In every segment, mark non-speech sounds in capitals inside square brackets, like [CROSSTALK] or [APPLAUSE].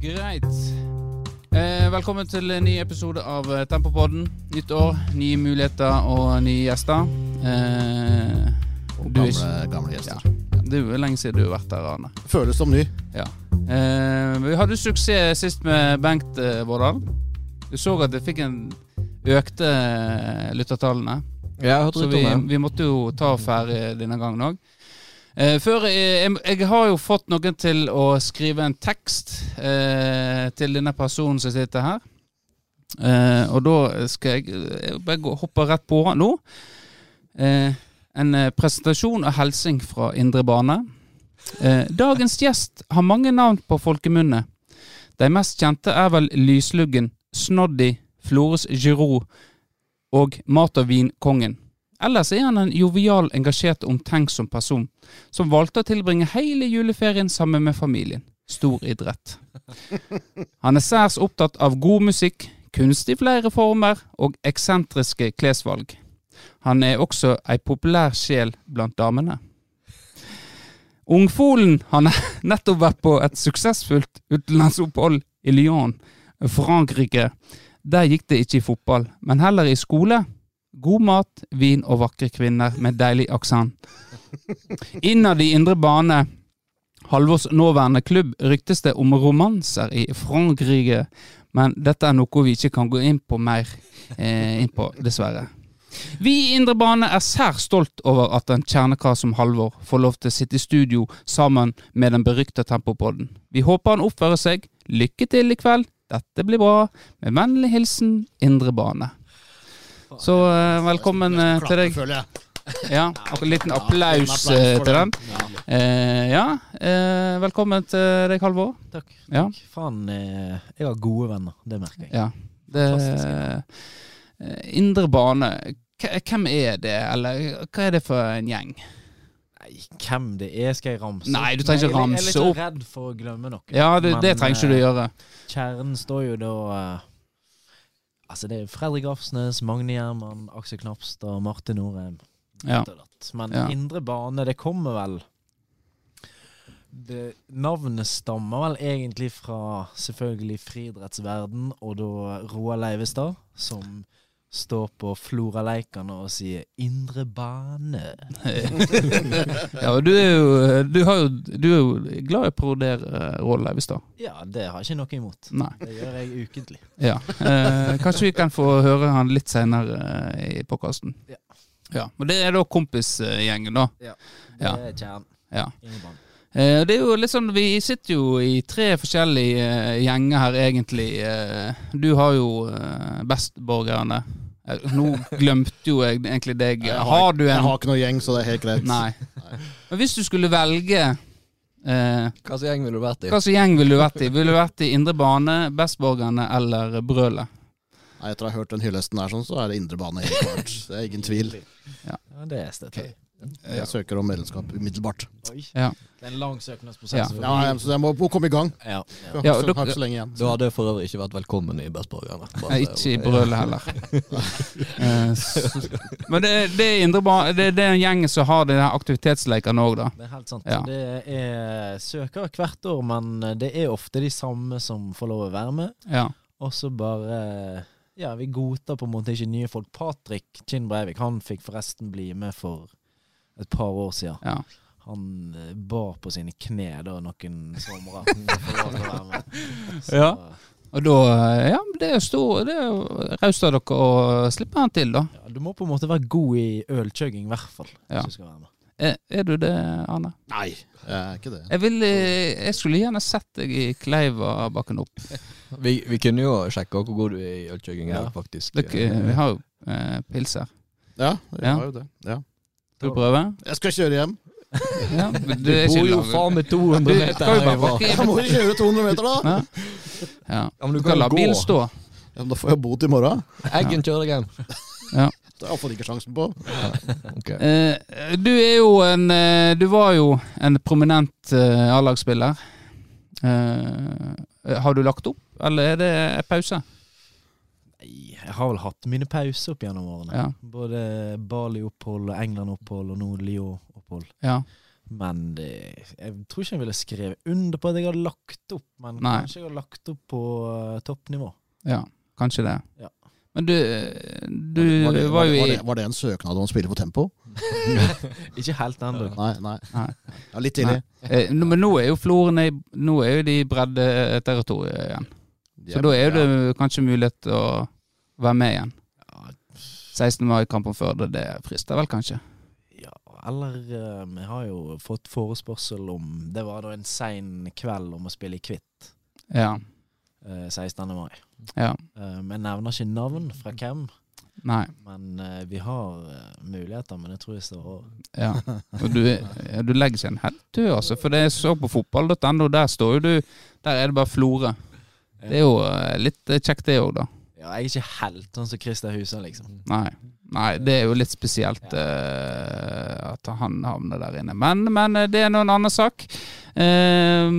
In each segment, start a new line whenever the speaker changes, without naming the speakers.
Greit. Eh, velkommen til en ny episode av eh, Tempopodden. Nytt år, nye muligheter og nye gjester. Eh,
Og
Du er
gamle, gamle gjester.
det er jo lenge siden du har vært her, Arne.
Føles som ny.
Ja. Eh, men vi hadde jo suksess sist med Bengt eh, Vårdal. Du så at det fikk en økte eh, lyttertallene.
Ja, jeg hørte
Så
litt
vi,
om det.
vi måtte jo ta ferie denne gangen òg. Eh, før eh, jeg, jeg har jo fått noen til å skrive en tekst eh, til denne personen som sitter her. Eh, og da skal jeg, jeg bare gå- hoppe rett på nå. Eh, en eh, presentasjon og hilsing fra Indre Bane. Eh, dagens gjest har mange navn på folkemunne. De mest kjente er vel Lysluggen, Snoddy, Flores Giroux og mat- og vinkongen. Ellers er han en jovial, engasjert og omtenksom person, som valgte å tilbringe hele juleferien sammen med familien. Stor idrett. Han er særs opptatt av god musikk, kunst i flere former og eksentriske klesvalg. Han er også ei populær sjel blant damene. Ungfolen han har [LAUGHS] nettopp vært på et suksessfullt utenlandsopphold i Lyon, Frankrike. Der gikk det ikke i fotball, men heller i skole. God mat, vin og vakre kvinner med deilig aksent. Innad i indre bane, Halvors nåværende klubb, ryktes det om romanser i Frankrike, men dette er noe vi ikke kan gå inn på mer eh, inn på, dessverre. Vi i Indre Bane er særs stolt over at en kjernekar som Halvor får lov til å sitte i studio sammen med den berykta Tempopodden. Vi håper han oppfører seg. Lykke til i kveld. Dette blir bra. Med vennlig hilsen Indre Bane. Så eh, velkommen eh, til deg.
Føler jeg.
Ja, og en liten applaus eh, til den. Eh, ja, eh, velkommen til deg, Halvor.
Takk.
Ja.
Takk. Faen, eh, jeg har gode venner. Det merker jeg.
Ja, det,
Fantastisk,
eh, indre bane, K hvem er det, eller hva er det for en gjeng?
Nei, hvem det er, skal jeg ramse
Nei, du trenger ikke
Nei,
ramse
Jeg
opp.
er litt sånn redd for å glemme noe.
Ja, det, det
Men,
trenger ikke du
eh,
gjøre.
Kjernen står jo da eh, Altså, det er Fredrik Afsnes, Magne Gjerman, Aksel Knapstad, Marte Norheim.
Ja.
ditt og datt. Men
Ja.
Indre Bane, det kommer vel det, Navnet stammer vel egentlig fra selvfølgelig friidrettsverden, og da Roar Leivestad, som står på Floraleikane og sier 'Indre Bane'.
ja, og du er jo, du har jo, du er jo glad i å parodiere eh, Roald Leivestad.
Ja, det har jeg ikke noe imot.
Nei.
Det gjør jeg ukentlig.
Ja. Eh, kanskje vi kan få høre han litt seinere i podkasten.
Ja.
Ja, men det er da kompisgjengen, da.
Det
Ja.
er kjernen.
Ja.
Indre Bane.
Eh, det er jo litt sånn, Vi sitter jo i tre forskjellige eh, gjenger her, egentlig. Eh, du har jo eh, bestborgerne. Eh, nå glemte jo jeg egentlig deg.
Jeg
har du
Jeg
en?
har ikke noe gjeng, så det er helt greit.
Nei. Men hvis du skulle velge eh,
Hva slags gjeng ville du vært i?
Hva slags gjeng ville du vært i? Ville du vært i Indre Bane, Bestborgerne eller Brølet?
Nei, Etter å ha hørt den hyllesten der, sånn, så er det indre bane helt klart.
[LAUGHS]
Det er ingen tvil.
Ja, det støtter jeg.
Jeg søker om medlemskap umiddelbart.
Oi.
Ja.
Det er en lang
Ja.
søknadsprosess. for
Ja, jeg- så jeg må må komme i gang.
Ja, ja.
Jeg
Ja,
har
og
ikke så- har ikke så lenge igjen.
Du hadde for øvrig ikke vært velkommen i Bestborgerne. Bare-
Nei, ikke i Brølet heller. Eh, s- Men det, det er Indre Bane Det, det er den gjengen som har de her aktivitetslekene òg, da.
Det er helt sant.
Ja.
Det er søkere hvert år, men eh, det er ofte de samme som får lov å være med.
Ja.
Og så bare eh, Ja, vi godtar på en måte ikke nye folk. Patrick Kinn Breivik, han fikk forresten bli med for et par år siden.
ja.
Han eh, bar på sine kne da noen somre. for å få lov til å være med. Så,
[LAUGHS] Ja. Og da, eh, ja, men det er jo stor Det er jo raust av dere å slippe han til, da.
ja, Du må på en måte være god i ølkjøgging, i hvert fall.
Ja.
Hvis du skal være med.
Er, er du det, Arne?
Nei, jeg er ikke det.
Jeg, vil, eh, jeg skulle gjerne sett deg i Kleivabakken opp.
Vi, vi kunne jo sjekke hvor god du er i ølkjøking her,
Ja.
faktisk.
Dere, vi har jo eh, pils her.
Ja, jeg
Ja.
har jo det. Ja.
Skal du prøve?
Jeg skal kjøre hjem.
Ja, men
Du
er ikke
bor jo
lang-
faen meg
Du
200 meter
skal jo bare
herfra.
bakke
Jeg
inn.
må jo kjøre 200 meter, da!
Ja. Ja.
Ja, men
Du kan la bilen stå.
Ja, men da får jeg bot i morgen.
[LAUGHS] Eggen kjører deg hjem.
Det har jeg iallfall ikke sjansen på.
Ok.
Eh, du er jo en eh, Du var jo en prominent eh, A-lagsspiller. Eh, har du lagt opp, eller er det pause?
Nei, jeg har vel hatt mine pauser opp gjennom årene.
Ja.
Både Bali-opphold og England-opphold, og nå Lyon-opphold.
ja.
Men det, jeg tror ikke jeg ville skrevet under på at jeg har lagt opp, men
Nei.
kanskje jeg har lagt opp på eh, toppnivå.
Ja, kanskje det.
Ja.
Men du, du
Var
var,
det, var,
jo
det,
i
var, det, var det en søknad om å spille på tempo?
Ikke helt ennå.
Nei. nei.
Nei.
Ja, litt tidlig.
eh, nå- Men nå er jo Floren i- Nå er jo de i breddeterritoriet igjen. Så da er det kanskje mulighet til å være med igjen.
Ja,
16 var i kampen før det, det frister vel kanskje.
Ja, eller eh, Vi har jo fått forespørsel om Det var da en sein kveld om å spille i Kvitt
Ja.
eh, 16. mai.
Ja.
Eh, men jeg nevner ikke navn fra hvem,
Nei.
men eh, vi har eh, muligheter. Men jeg tror jeg står over.
Ja. Og du, ja, du legger seg en helt død, altså. For det jeg så på fotball.no, der står jo du Der er det bare Florø. Det er jo eh, litt eh, kjekt, det òg, da.
Ja, jeg er ikke helt sånn som Christer Husa, liksom.
Nei. Nei, det er jo litt spesielt eh, at han havner der inne. Men, men eh, det er nå en annen sak. Eh,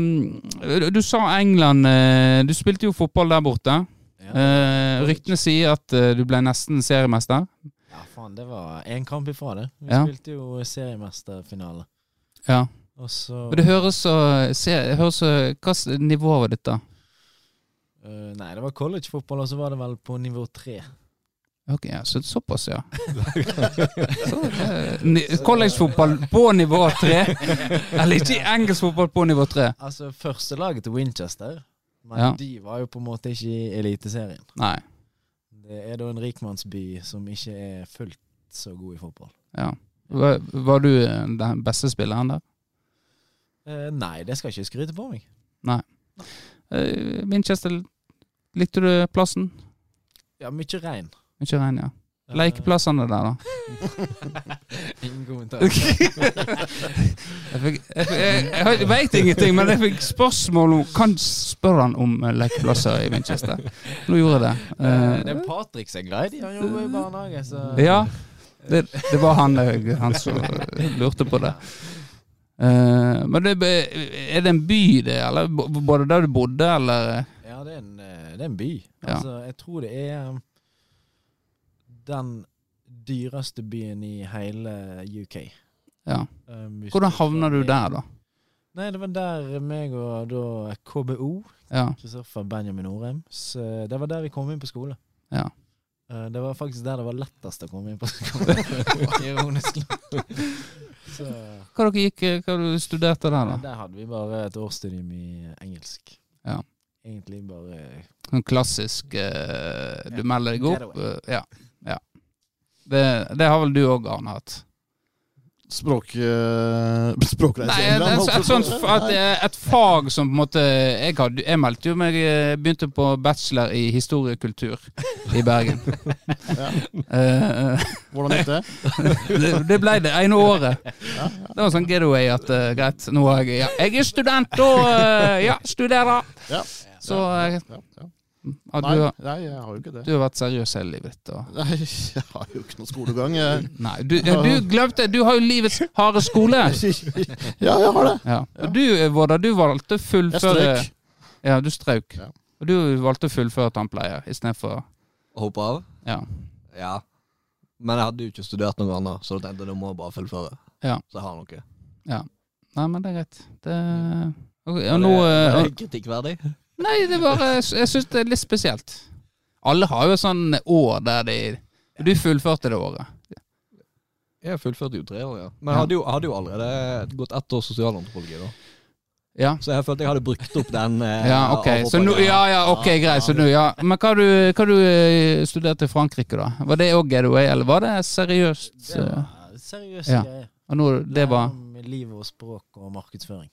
du- du sa England. eh, du spilte jo fotball der borte.
Ja,
Eh, ryktene sier at eh, du ble nesten seriemester.
ja faen, det var én kamp ifra det. Vi
Ja.
spilte jo seriemesterfinale.
Ja.
Og så
Men det høres så, se, høres så Hva s- nivå var dette?
eh, Nei, det var collegefotball, og så var det vel på nivå tre.
Ok, ja, så såpass,
[LAUGHS]
ja. Så, eh, ni- Collegefotball på nivå tre.
[LAUGHS]
Eller ikke engelsk fotball på nivå tre.
Altså førstelaget til Winchester, men
Ja.
de var jo på en måte ikke i Eliteserien.
Nei.
Det er da en rikmannsby som ikke er fullt så god i fotball.
Ja. Var, var du eh, den beste spilleren der?
Eh, nei, det skal jeg ikke skryte på meg.
Eh, Winchester, likte du plassen?
Ja,
[LAUGHS]
mye regn.
Ikke regn, ja. Lekeplassene [LAUGHS] der, da?
Eh, [LAUGHS] Ingen kommentar.
Ok. Jeg, fikk, jeg, fikk- jeg, jeg, jeg veit ingenting, men jeg fikk spørsmål om Kan spørre han om eh, lekeplasser i Winchester? Nå gjorde jeg det.
Eh, det
Eh,
er Patrick som er grei. De har jobba i barnehage, så
ja, det, det var han, eh, han som eh, lurte på det. Eh, men det, er det en by, det? Eller B- både der du bodde, eller eh,
Ja, det er en, eh, det er en by.
Ja.
Altså, jeg tror det er eh, den dyreste byen i hele UK.
Ja.
Um, hvis
Hvordan
du
havna du
får-
der, da?
Nei, det var der meg og da KBO
Ja.
Kristoffer Benjamin Orheim. Så det var der vi kom inn på skole.
Ja.
Eh, Det var faktisk der det var lettest å komme inn på [LAUGHS] skole. Ironisk nok. Så
Hva dere gikk, eh, hva du studerte der, da?
Der hadde vi bare et årsstudium i engelsk.
Ja.
Egentlig bare
Sånn klassisk eh, Du
Ja,
melder deg opp.
getaway.
eh, ja. ja. Det, det har vel du òg, Arne, hatt?
Språk, øh, [LAUGHS] språkreise
Nei,
i
et, et,
England, holdt jeg
et,
på å
sånt,
si.
at, eh, et fag som på en måte Jeg, hadde, jeg meldte jo meg eh, Begynte på bachelor i historiekultur i
[LAUGHS]
Bergen. Eh,
Nei, Hvordan gikk
[LAUGHS]
det?
det, det ble det ene året. Det var sånn getaway at eh, greit, nå er jeg ja, Jeg er student og eh, ja, studerer.
Ja.
Så eh,
Ja, ja.
ja,
Nei,
du, har-
nei, jeg har jo ikke det.
du har vært seriøs hele livet ditt. Og,
[LAUGHS] Nei, jeg har jo ikke noe skolegang.
[LAUGHS]
jeg.
nei, du, ja, du glemte Du har jo livets harde skole.
Ja, jeg har det.
Ja. Og du, eh, Vårdar, du valgte å
Jeg
fullføre
strøk.
Ja, du strøk.
Ja.
Og du valgte å fullføre tannpleier istedenfor
Hoppe av?
Ja.
Ja. Men jeg hadde jo ikke studert noe annet, så da tenkte jeg da må jeg bare fullføre.
Ja.
Så jeg har noe.
Nei, men det er greit. Det Ok, Og nå
Er
eh,
det kritikkverdig?
Nei, det er bare Jeg syns det er litt spesielt. Alle har jo sånn år der de Du fullførte det året.
Jeg fullførte jo tre år, ja. Men jeg hadde jo, jeg hadde jo allerede gått ett år sosialantropologi, da.
Ja.
Så jeg følte jeg hadde brukt opp den. eh,
Ja, ok. Så nå,
avhopperen.
ja, ja, ok, greit. Så nå, ja. Men hva du, hva du eh, studerte i Frankrike, da? Var det òg getaway, eller var det seriøst?
Det
eh,
var seriøs
Ja.
greie.
Og nå, det
Lære
var
om Liv og språk og markedsføring.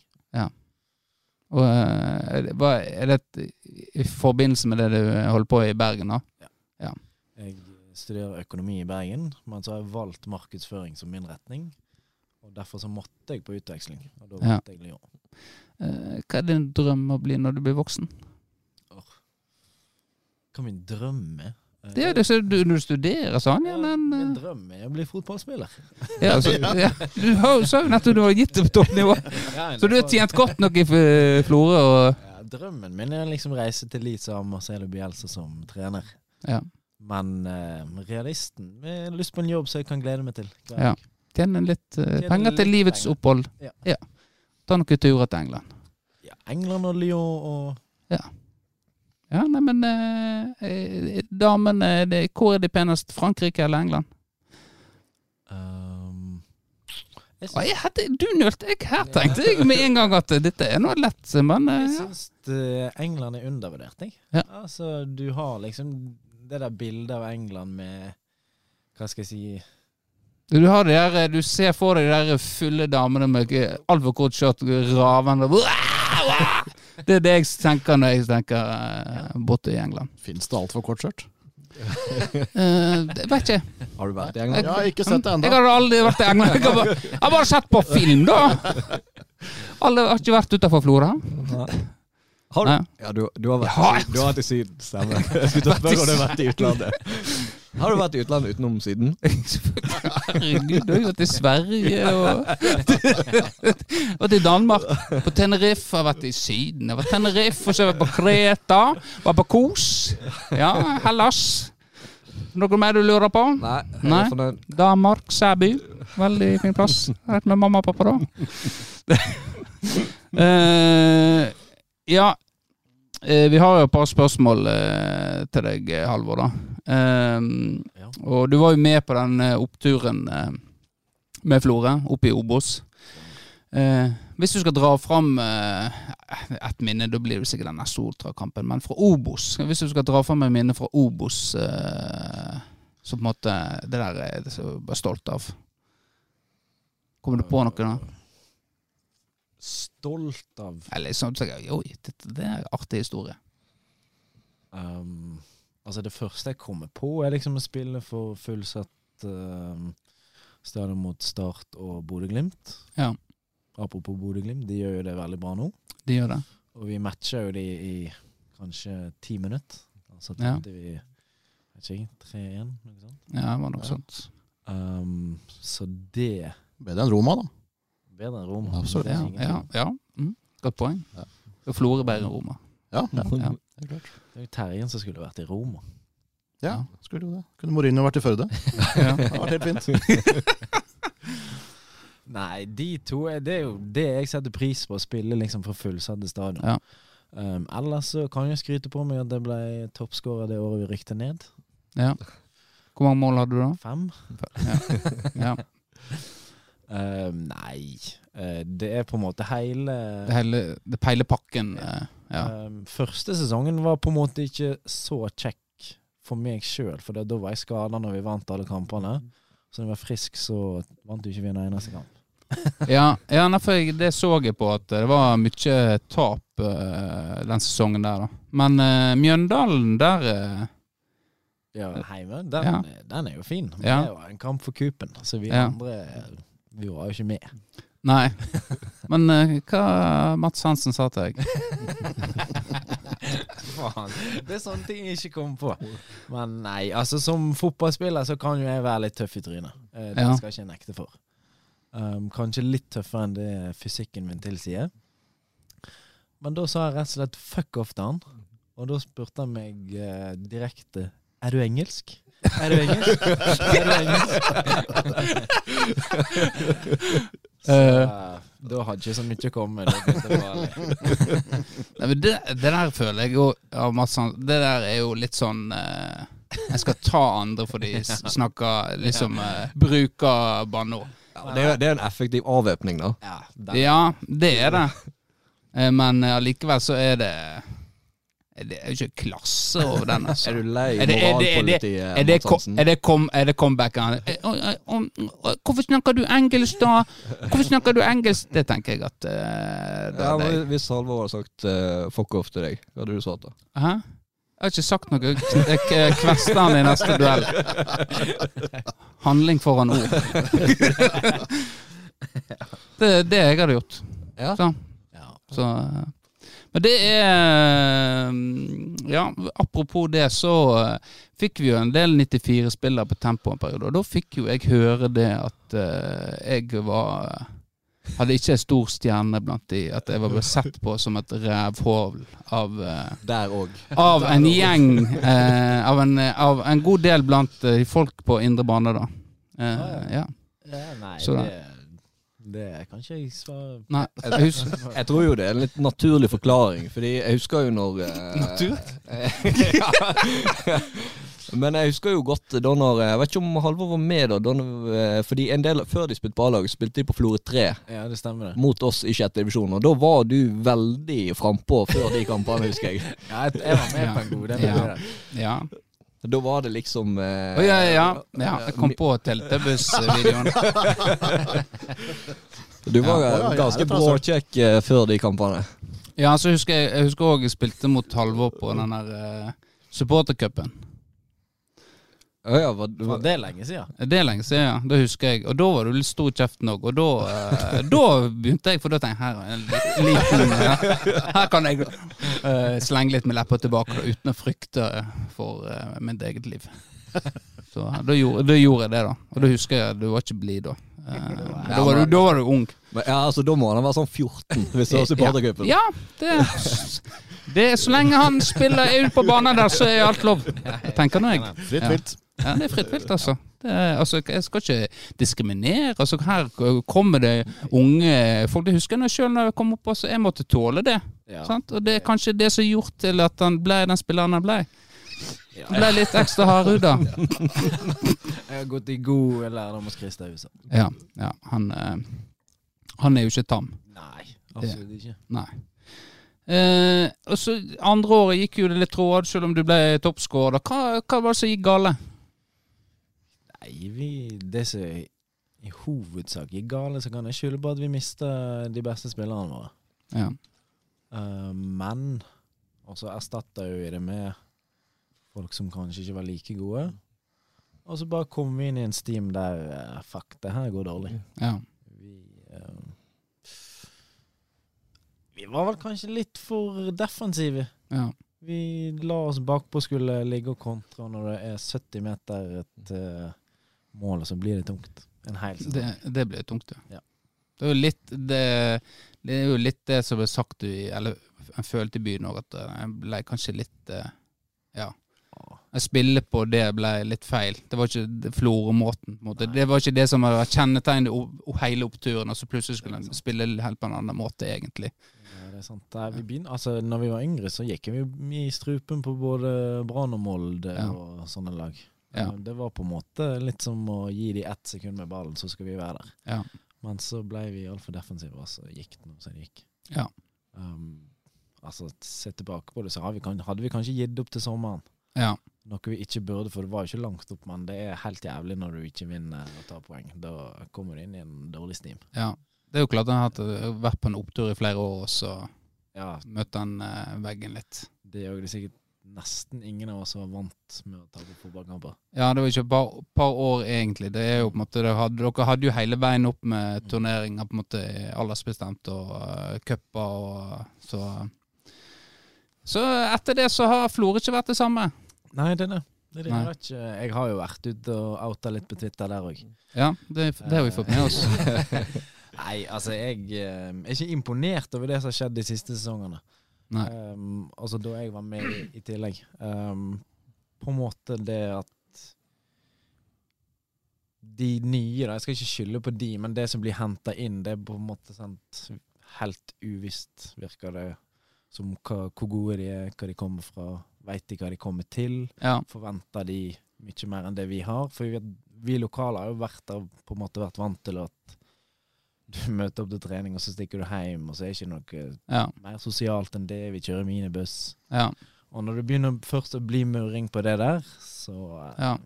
og, eh, er det- hva- Er det et- i forbindelse med det du holder på i Bergen, da?
Jeg studerer økonomi i Bergen, men så har jeg valgt markedsføring som min retning. Og derfor så måtte jeg på utveksling, og da
Ja.
valgte jeg Lyon.
Eh, Hva er din drøm å bli når du blir voksen?
Hva min drøm er? Eh,
Det er jo det som du, når du studerer sånn, ja,
ja,
men eh,
Min drøm er å bli fotballspiller.
Ja, altså, ja. Du har jo- sa jo nettopp du har gitt opp [LAUGHS] toppnivå, så du har tjent godt nok i F- eh, Florø. Og,
Ja, drømmen min er liksom reise til Leeds og ha Marcelo Bielsa som trener.
Ja.
Men eh, realisten jeg har lyst på en jobb som jeg kan glede meg til. hver
Ja.
dag.
Tjene litt eh,
Tjene
penger til
litt
livets
penger.
opphold.
Ja.
Ta noen turer til England.
Ja, England og Lyon og
Ja, nei, men eh, eh, damene det, Hvor er de penest? Frankrike eller England?
ehm, Jeg
Å,
syns,
jeg hadde, du nølte jeg her, tenkte jeg med en gang at eh, dette er noe lett, men eh,
jeg
ja.
syns det- eh, England er undervurdert, jeg.
Ja.
Altså, du har liksom det der bildet av England med Hva skal jeg si
Du har det der, eh, du ser for deg de der fulle damene med eh, altfor kort skjørt, ravende Det er det jeg tenker når jeg tenker eh, borte i England.
Fins det altfor kort skjørt?
Eh, det vet ikke.
Har du vært i
Jeg
England?
har ikke sett det
Jeg
ennå.
har aldri vært i England. Jeg har bare, jeg har bare sett på film, da. Alle har ikke vært utenfor Flora.
Nei. Har du?
Nei.
Ja, du, du har vært,
Ja,
i- du har vært i Syden,
[LAUGHS]
stemmer. Jeg skulle til å spørre om du har vært i utlandet. Har du vært i utlandet utenom Syden?
Herregud, du har jo vært i Sverige og [LAUGHS] Vært i Danmark. På Tenerife har jeg vært i Syden. Jeg har vært på Tenerife, og så har jeg vært på Kreta. Var på Kos. Ja, Hellas. Noe mer du lurer på?
Nei. Jeg
Nei.
er fornøyd.
Danmark, Sæby. Veldig fin plass. Jeg har Vært med mamma og pappa da. [LAUGHS] Eh, ja, eh, vi har jo et par spørsmål eh, til deg, eh, Halvor, da. Ehm,
Ja.
Og du var jo med på den eh, oppturen eh, med Florø, oppe i Obos. Eh, hvis du skal dra fram eh, et minne, da blir det sikkert denne Soltra-kampen, men fra Obos Hvis du skal dra fram et minne fra Obos eh, så på en måte Det der er jeg så bare stolt av. Kommer du på noe da?
Stolt av
Eller sånn så tenker jeg, Oi, dette, det er en artig historie.
Ehm, altså det første jeg kommer på, er liksom å spille for fullsatt ehm, stadion mot Start og Bodø-Glimt.
Ja.
Apropos Bodø-Glimt, de gjør jo det veldig bra nå.
De gjør det.
Og vi matcher jo de i kanskje ti minutter. Altså
Ja.
tapte vi vet ikke, 3-1, noe sånt.
Ja, det var noe
Ja.
sånt.
Ehm, så det er
Bedre enn Roma, da.
bedre enn Rom.
Absolutt.
Det er
Ja,
ingenting.
ja, ja. Mm, godt poeng.
Ja.
Og Florø bedre enn Roma.
Ja, ja,
Ja.
det er klart.
Det er jo Terjen som skulle vært i Roma.
Ja, skulle jo det. Kunne Mourinho vært
[LAUGHS]
i Førde? Det
Ja.
hadde vært helt fint.
Nei, de to er, Det er jo det jeg setter pris på, å spille liksom for fullsatte stadion.
Ja.
Um, ellers så kan jeg skryte på meg at jeg ble toppskårer det året vi rykte ned.
ja. Hvor mange mål hadde du da?
Fem.
Ja.
Um, nei, eh, det er på en måte hele
Det, hele, det peiler pakken. eh, Ja.
um, Første sesongen var på en måte ikke så kjekk for meg sjøl, for da var jeg skada når vi vant alle kampene.
Mm.
Så når jeg var frisk, så vant jo ikke vi en eneste kamp.
Ja, ja nei, for jeg, det så jeg på at det var mye tap eh, den sesongen der, da. Men eh, Mjøndalen der eh,
Ja, Heime, den, eh,
Ja.
den er jo fin. Men
Ja.
det var en kamp for Kupen, så vi
Ja.
andre eh, vi var jo ikke med.
Nei. Men eh, hva Mats Hansen sa til deg?
Faen. Det er sånne ting jeg ikke kommer på. Men nei, altså som fotballspiller så kan jo jeg være litt tøff i trynet. Eh, Det
Ja.
skal ikke jeg nekte for. Um, kanskje litt tøffere enn det fysikken min tilsier. Men da sa jeg rett og slett fuck off til han. Og da spurte han meg eh, direkte Er du engelsk? Er du engelsk? [LAUGHS] Er du engelsk? Så,
Eh.
da hadde ikke så mye å komme med. Det begynte bare-
Nei, men det, det der føler jeg jo ja, Mats Hansen, Det der er jo litt sånn eh, Jeg skal ta andre for de s- snakker liksom eh, Bruker banneord.
Ja, det, er, det er en effektiv avvæpning, da.
Ja, den-
Ja, det er det. Eh, Men eh, allikevel så er det Det er jo ikke klasse over
[LAUGHS]
den, altså.
Er du eh, lei
Er det- er det- er det-
moralpolitiet,
Er det,
Mads
kom,
Hansen?
er det, kom, er det comebacken? Eh, å, å, å, å, Hvorfor snakker du engelsk da? Hvorfor snakker du engelsk? Det tenker jeg at eh, det
ja,
er deg.
men Hvis Halvor hadde sagt eh, fuck off til deg, hva hadde du svart da?
Hæ? Jeg har ikke sagt noe. Jeg k- kvester han i neste duell. Handling foran
[LAUGHS]
ord. Det er det jeg hadde gjort.
Ja.
Så,
ja.
så. eh, Men det er eh, Ja, apropos det, så eh, fikk vi jo en del 94-spillere på tempo en periode. Og da fikk jo jeg høre det at eh, jeg var hadde ikke en stor stjerne blant de, at jeg var blitt sett på som et rævhål av eh,
Der òg.
av en gjeng eh, av, en, av en god del blant eh, folk på indre bane, da. Eh, ja.
Ja, nei,
Så
det, det kan ikke jeg svare
Nei, jeg husker
Jeg tror jo det er en litt naturlig forklaring, fordi jeg husker jo når eh, ja. [LAUGHS] Men jeg husker jo godt da når eh, Jeg vet ikke om Halvor var med da. da når, eh, fordi en del Før de spilte på A-laget, spilte de på Florø 3
Ja, det stemmer det.
mot oss i sjette divisjon. Og da var du veldig frampå før de kampene, husker jeg.
Ja,
[LAUGHS]
jeg, jeg var med på en god del.
Ja.
av det.
Ja.
Da var det liksom eh,
Å, ja, ja, ja. Jeg kom på teltebussvideoen.
Du var
Ja. Ja, ja,
ganske
det tar seg.
bråkjekk eh, før de kampene.
Ja, så husker jeg Jeg husker òg jeg spilte mot Halvor på den der eh, supportercupen.
Ja, ja, var,
Faen, Det er lenge siden.
Det er lenge siden, ja. Da husker jeg. Og da var du litt stor i kjeften òg. Og da, eh, da begynte jeg, for da tenkte jeg her er en li- liten eh, Her kan jeg eh, slenge litt med leppa tilbake da, uten å frykte for eh, mitt eget liv. Så da gjorde, da gjorde jeg det, da. Og da husker jeg du var ikke blid da. Eh, men da, var du, da var du ung.
men, ja, altså, da må han være sånn 14 hvis det var supportercupen.
Ja, det, det Så lenge han spiller er ute på banen der, så er alt lov. Tenker nå jeg.
Fritt
Ja.
vilt.
Ja, det er fritt vilt, altså. Det er, altså. Jeg skal ikke diskriminere. Altså, her kommer det unge folk. Jeg husker når jeg selv når jeg kom opp, altså, jeg måtte tåle det.
Ja.
Sant? Og det er kanskje det som har gjort til at han ble den spilleren han ble.
Ja.
Ble litt ekstra hardhuda.
Jeg har gått i god lærdom hos Christer Huset.
Ja, ja, han, eh, han er jo ikke tam.
Nei, absolutt ikke.
Nei. Eh, og så Andre året gikk jo det litt tråd, selv om du ble toppskårer. Hva, hva var det som gikk gale?
Nei, vi, det som i hovedsak gikk galt, så kan jeg skylde på at vi mista de beste spillerne våre.
Ja.
Eh, men Og så erstatta vi det med folk som kanskje ikke var like gode. Og så bare kom vi inn i en steam der eh, Fuck, det her går dårlig.
ja.
Vi, eh, vi var vel kanskje litt for defensive.
ja.
Vi la oss bakpå, skulle ligge og kontre, og når det er 70 meter til målet, så blir det tungt. En hel sesong.
Det, det blir tungt, ja.
Ja.
Det, er jo litt, det, det er jo litt det som ble sagt i Eller jeg følte i byen òg, at eh, jeg ble kanskje litt eh, Ja. Jeg spiller på det ble litt feil. Det var ikke det- Florø-måten. på en måte. Det var ikke det som var kjennetegnet o- o- hele oppturen, og så plutselig skulle en spille helt på en annen måte, egentlig.
Ja, det er sant. Nei, vi begynner, altså, når vi var yngre, så gikk vi i strupen på både Brann og Molde
Ja.
og sånne lag.
Ja.
Det var på en måte litt som å gi de ett sekund med ballen, så skal vi være der.
Ja.
Men så ble vi altfor defensive, og så gikk det noe som det gikk.
Ja.
Um, altså, se tilbake på det, så har vi, kan- hadde vi kanskje gitt opp til sommeren.
Ja.
Noe vi ikke burde, for det var jo ikke langt opp, men det er helt jævlig når du ikke vinner og tar poeng. Da kommer du inn i en dårlig stim.
ja. Det er jo klart en har hatt- eh, vært på en opptur i flere år, og så
Ja,
møter en eh, veggen litt.
det er jo det sikkert nesten ingen av oss som er vant med å tape fotballkamper.
Ja, det var ikke et par, par år, egentlig. Det er jo på en måte, det hadde, Dere hadde jo hele veien opp med turneringer, på en måte aldersbestemt, og uh, cuper og så Så etter det så har Florø ikke vært det samme.
Nei, det er det. det, er det.
Nei.
Jeg, vet ikke. jeg har jo vært ute og outa litt på Twitter der òg.
Ja, det, det har vi fått med oss.
[LAUGHS] Nei, altså jeg eh, er ikke imponert over det som har skjedd de siste sesongene.
Nei.
Ehm, altså da jeg var med i, i tillegg. Ehm, på en måte det at De nye, da. Jeg skal ikke skylde på de, men det som blir henta inn, det er på en måte sant, helt uvisst, virker det som. Hva, hvor gode de er, hva de kommer fra. Veit de hva de kommer til?
Ja,
forventer de mye mer enn det vi har. For vi, vi lokale har jo vært, der, på en måte vært vant til at du [LAUGHS] møter opp til trening, og så stikker du hjem, og så er det ikke noe
ja,
mer sosialt enn det. Vi kjører minibuss.
ja.
Og når det begynner først å bli murring på det der, så eh,
ja.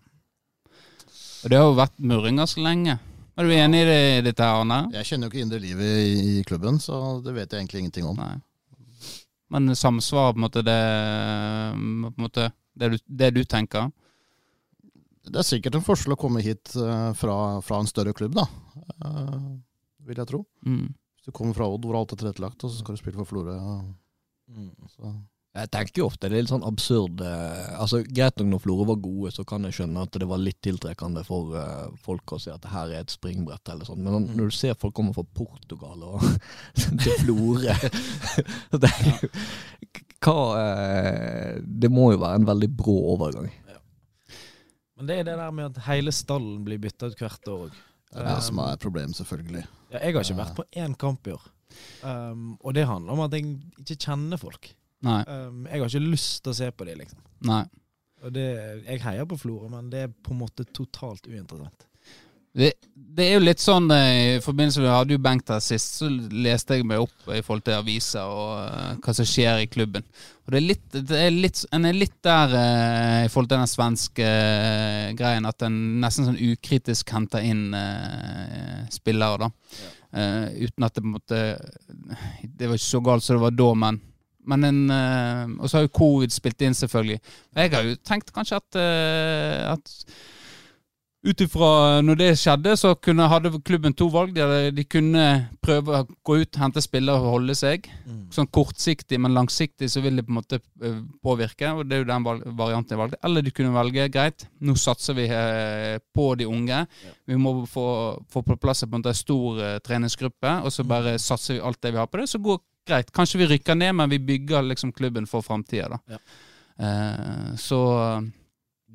Og det har jo vært murringer så lenge. Er du enig i det, dette, her, Arne?
Jeg kjenner jo ikke indre livet i, i klubben, så det vet jeg egentlig ingenting om.
Nei. Men samsvar på en måte det på en måte, det, du, det du tenker?
Det er sikkert en forskjell å komme hit eh, fra, fra en større klubb, da. Eh, vil jeg tro.
Mm.
Hvis du kommer fra Odd, hvor alt er tilrettelagt, og så skal du spille for Florø. og-
mm.
så-
Jeg tenker jo ofte det er litt sånn absurd eh, Altså Greit nok når Florø var gode, så kan jeg skjønne at det var litt tiltrekkende for eh, folk å si at det her er et springbrett eller sånn, men
Mm.
når du ser folk kommer fra Portugal og [LAUGHS] til Florø så det, er jo- hva, eh, det må jo være en veldig brå overgang.
Men det er det der med at hele stallen blir bytta ut hvert år òg.
Det er det som er problemet, selvfølgelig.
Ja, jeg har ikke vært på én kamp i år. Um, og det handler om at jeg ikke kjenner folk.
Nei.
Um, jeg har ikke lyst til å se på dem, liksom.
nei.
Og det, jeg heier på Florø, men det er på en måte totalt uinteressant.
Det, det er jo litt sånn eh, I forbindelse med vi hadde jo benk der sist, så leste jeg meg opp i forhold til aviser og eh, hva som skjer i klubben. Og det er litt, det er litt En er litt der eh, i forhold til den svenske eh, greien at en nesten sånn ukritisk henter inn eh, spillere, da. Eh, uten at det på en måte Det var ikke så galt som det var da, men men en, eh, og så har jo covid spilt inn, selvfølgelig. Jeg har jo tenkt kanskje at, eh, at ut ifra eh, når det skjedde, så kunne, hadde klubben to valg. De, hadde, de kunne prøve å gå ut, hente spillere og holde seg.
Mm.
Sånn kortsiktig, men langsiktig så vil det på en måte eh, påvirke. og Det er jo den valg- varianten jeg valgte. Eller du kunne velge greit, nå satser vi eh, på de unge. Vi må få, få på plass en måte en stor eh, treningsgruppe, og så bare satser vi alt det vi har på det. Så går greit. Kanskje vi rykker ned, men vi bygger liksom klubben for framtida, da.
Ja.
Eh, så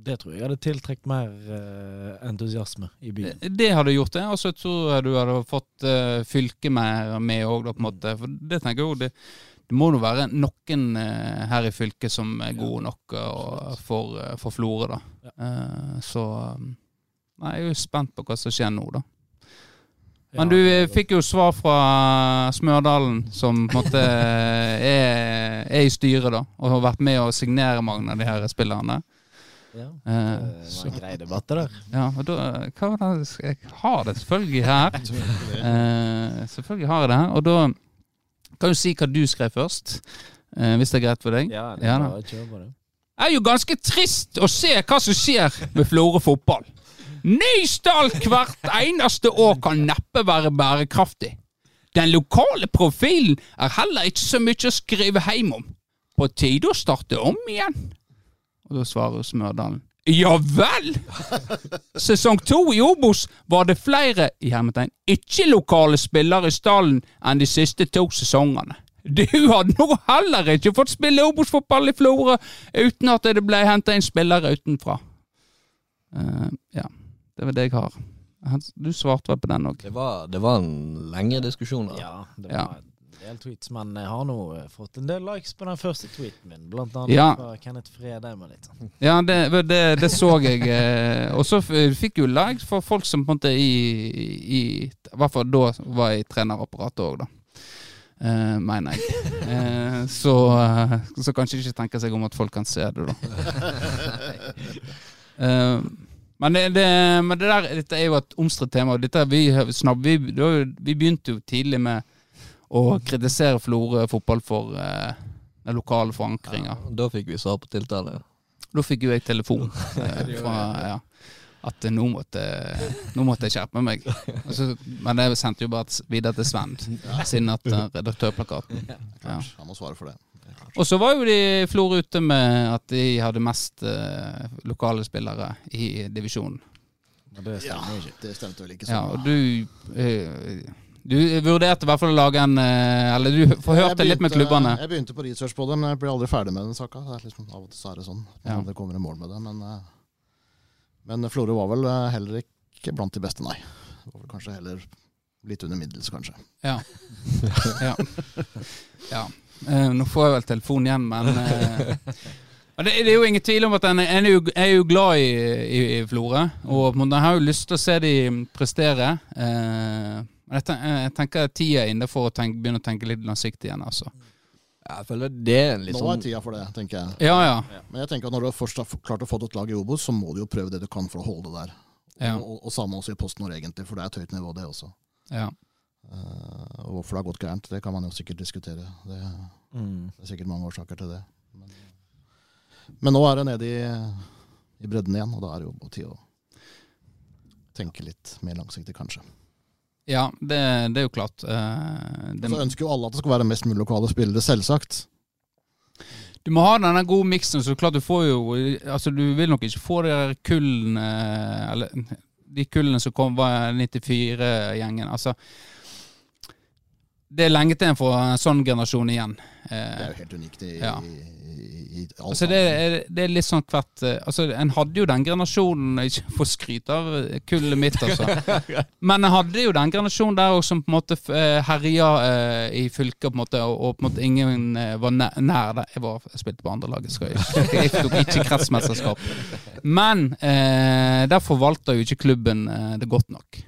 Det tror jeg hadde tiltrukket mer eh, entusiasme i byen.
Eh, Det hadde gjort det, og så tror jeg du hadde fått eh, fylket mer med òg, på en måte. For det tenker jeg jo, det, det må jo være noen eh, her i fylket som er gode nok eh, og, for, eh, for Florø, da. Eh, så eh, Nei, jeg er jo spent på hva som skjer nå, da. Men du eh, fikk jo svar fra Smørdalen, som på en måte eh, er, er i styret, da. Og har vært med å signere mange av de her spillerne.
ja. Det
Eh,
var
så,
en grei debatt, det der.
ja, og da, hva var det? Jeg har det selvfølgelig her. Eh, selvfølgelig har jeg det. Og da kan du si hva du skrev først, eh, hvis det er greit for deg.
Ja,
Ja, da.
bare å kjøre på det.
Det er jo ganske trist å se hva som skjer med Florø fotball. Ny stall hvert eneste år kan neppe være bærekraftig. Den lokale profilen er heller ikke så mye å skrive hjem om. På tide å starte om igjen. Og da svarer Smørdalen. Ja vel! Sesong to i Obos var det flere i hermetegn ikke-lokale spillere i stallen enn de siste to sesongene. Du har nå heller ikke fått spille Obos-fotball i Florø uten at det ble henta inn spillere utenfra. Eh, ja, det var det jeg har. Han- Du svarte vel på den òg?
Det var, det var en lengre diskusjon. da.
Ja, det
Ja.
var en del tweets, men jeg har nå eh, fått en del likes på den første tweeten min, blant annet
Ja.
fra Kenneth Fredheim og litt sånn.
Ja, det, vel, det, det så jeg. eh, Og så f- fikk jo likes for folk som på en måte i, i I hvert fall da var i trenerapparatet òg, da. Eh, mener jeg. Eh, så, eh, så kanskje ikke tenker seg om at folk kan se det, da. Eh, men, det, det, men det der, dette er jo et omstridt tema. og Dette er vi, snabb, vi, det var jo- vi begynte jo tidlig med å kritisere Florø fotball for eh, den lokale forankringa.
Da fikk vi svar på tiltale.
Da fikk jo jeg
[LAUGHS]
telefon eh, fra ja, at eh, nå måtte, nå måtte jeg skjerpe meg. Og så- men jeg sendte jo bare videre til Sven, siden at eh, redaktørplakaten. Ja.
Klart, Han må svare for det.
Og så var jo de i Flor ute med at de hadde mest eh, lokale spillere i divisjonen.
Men det
Ja,
stemmer jo ikke.
det stemte vel ikke
Ja,
sånn.
og du eh, Du vurderte i hvert fall å lage en eh, Eller du forhørte litt med klubbene.
Jeg begynte på research på det, men jeg ble aldri ferdig med den saka. Det er liksom, av og til så er det sånn. at Man
Ja.
aldri kommer i mål med det. Men, eh, men Florø var vel eh, heller ikke blant de beste, nei. Det var vel kanskje heller litt under middels, kanskje.
Ja. ja. ja. Eh, nå får jeg vel telefon igjen, men eh, men det, det er jo ingen tvil om at en, en er, jo, er jo glad i, i, i Florø. Og på en måte har jo lyst til å se de prestere. Eh, men jeg, ten, jeg tenker tida er inne for å tenke, begynne å tenke litt langsiktig igjen, altså.
Ja, Jeg føler det er en litt
Nå
sånn
er tida for det, tenker jeg.
Ja, ja.
Men jeg tenker at når du først har f- klart å få et lag i Obos, så må du jo prøve det du kan for å holde det der.
Ja.
Og, og, og samme også i Post Nord, egentlig, for det er et høyt nivå, det også.
ja.
Eh, og hvorfor det har gått gærent, det kan man jo sikkert diskutere. Det, det
Mm.
er sikkert mange årsaker til det. Men, men nå er det nede i, i bredden igjen, og da er det jo på tide å tenke litt mer langsiktig, kanskje.
ja det, det er jo klart. Eh, det,
Så ønsker jo alle at det skal være mest mulig lokale spillere, selvsagt.
Du må ha denne gode miksen, så klart du får jo Altså, du vil nok ikke få de der kullene Eller de kullene som kom, var 94-gjengen. Altså det er lenge til en får en sånn generasjon igjen.
Det
Eh,
er jo helt unikt i,
Ja.
i, i, i alt.
altså det, er, det er litt sånn hvert eh, altså En hadde jo den generasjonen Ikke for å skryte av eh, kullet mitt, altså. Men en hadde jo den generasjonen der også som på en måte f- eh, herja eh, i fylket, på en måte, og, og på en måte ingen eh, var næ- nær der. Jeg, var, jeg spilte på andrelaget, så jeg, jeg tok ikke kretsmesterskap. Men eh, der forvalter jo ikke klubben eh, det godt nok.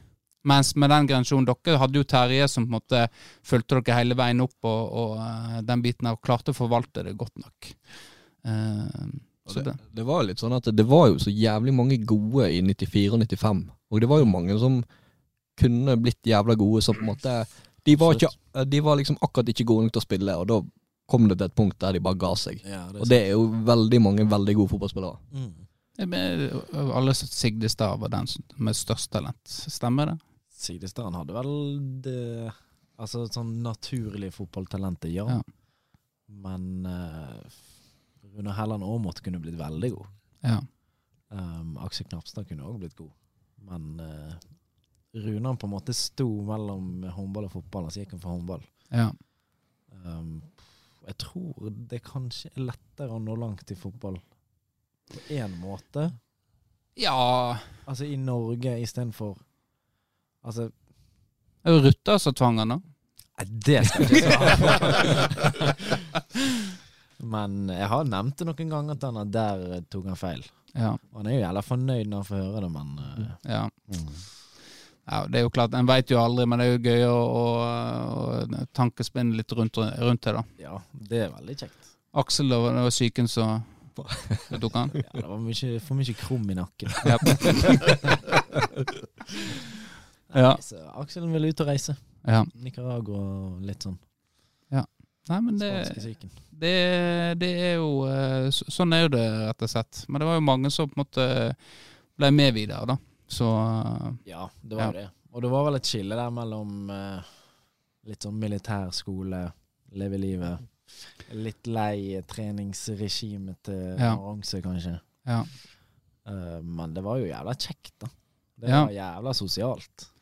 Mens med den generasjonen dere hadde jo Terje som på en måte fulgte dere hele veien opp, og, og eh, den biten av klarte å forvalte det godt nok. Eh,
Og
så
Det,
det.
det var litt sånn at det var jo så jævlig mange gode i 94 og 95. Og det var jo mange som kunne blitt jævla gode, som på en måte De var, ikke, de var liksom akkurat ikke gode nok til å spille, og da kom det til et punkt der de bare ga seg.
Ja, det
Og det er jo veldig mange veldig gode fotballspillere.
Mm.
Eh, men, eh, Alle syns Sigde Stad var den som- med størst talent. Stemmer det?
Sigdestad hadde vel det Altså sånn naturlige fotballtalentet, ja.
Ja.
Men uh, Rune Helland Aamodt kunne blitt veldig god.
Ja.
Um, Aksel Knapstad kunne òg blitt god. Men uh, Runan på en måte sto mellom håndball og fotball, altså gikk han for håndball.
ja.
Um, jeg tror det kanskje er lettere å nå langt i fotball på én måte.
ja
Altså i Norge istedenfor Altså
Det var Rutter som tvang han, da.
Nei, det skal jeg ikke svare på. [LAUGHS] Men jeg har nevnt det noen ganger at han at der eh, tok han feil.
Ja,
Og han er jo jævla fornøyd når han får høre det, men eh,
ja.
Mm.
ja. Det er jo klart, en veit jo aldri, men det er jo gøy å, å, å tankespinne litt rundt, rundt det, da.
ja, det er veldig kjekt.
Aksel, da var- det var syken, [LAUGHS] så så tok han.
Ja, det var mye, for mye krum i nakken.
Ja. [LAUGHS] ja.
Så Aksel vil ut og reise.
ja.
Nicaragua og litt sånn.
Nei, men det,
Spanskesyken.
det, det er jo eh, så- Sånn er jo det, rett og slett. Men det var jo mange som på en måte ble med videre, da. Så eh,
Ja, det var jo det. Og det var vel et skille der mellom eh, litt sånn militær skole, leve livet, litt lei treningsregimet til
Ja.
Aranse, kanskje.
ja.
Eh, men det var jo jævla kjekt, da. Det
Ja.
var jævla sosialt.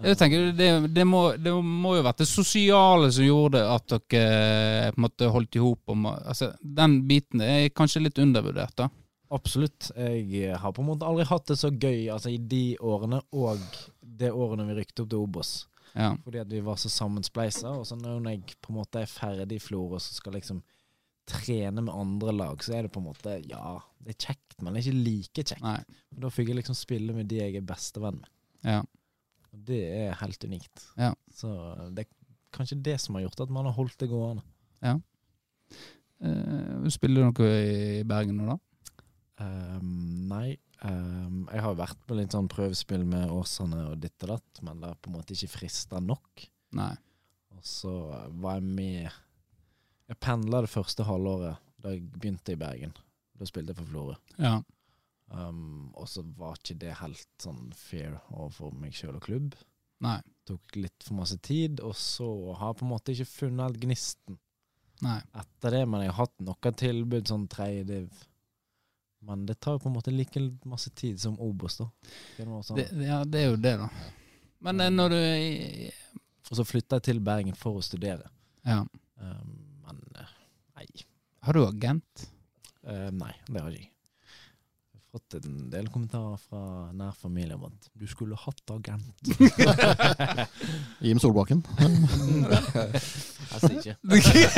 Jeg tenker, det, det, må, det må jo vært det sosiale som gjorde at dere eh, på en måte holdt i hop. Altså, den biten er kanskje litt undervurdert, da.
Absolutt. Jeg har på en måte aldri hatt det så gøy altså i de årene og det årene vi rykte opp til Obos.
Ja.
Fordi at vi var så sammenspleisa. Og så når jeg på en måte er ferdig i Florø og skal liksom trene med andre lag, så er det på en måte Ja, det er kjekt, men det er ikke like kjekt.
Nei.
Da fikk jeg liksom spille med de jeg er bestevenn med.
Ja.
Og det er helt unikt.
Ja.
Så det er kanskje det som har gjort at man har holdt det gående.
Eh, spiller du noe i Bergen nå, da?
Ehm, nei. ehm, jeg har vært på litt sånn prøvespill med Åsane og ditt og datt, men det har på en måte ikke frista nok.
Nei.
Og så var jeg med Jeg pendla det første halvåret da jeg begynte i Bergen. Da spilte jeg for Florø.
Ja.
Ehm, og så var ikke det helt sånn fair overfor meg sjøl og klubb.
Nei.
Tok litt for masse tid, og så har jeg på en måte ikke funnet helt gnisten
Nei.
etter det, men jeg har hatt noen tilbud, sånn tredje div. Men det tar jo på en måte like masse tid som Obos, da. Det er noe sånn.
Det, ja, det er jo det, da. Men eh, når du er i-
Og så flytta jeg til Bergen for å studere.
ja.
Um, men eh, nei.
Har du
[LAUGHS]
agent?
Eh, nei, det har jeg ikke. Jeg har fått en del kommentarer fra nær familie om at du skulle hatt agent.
Jim Solbakken.
Jeg sier ikke.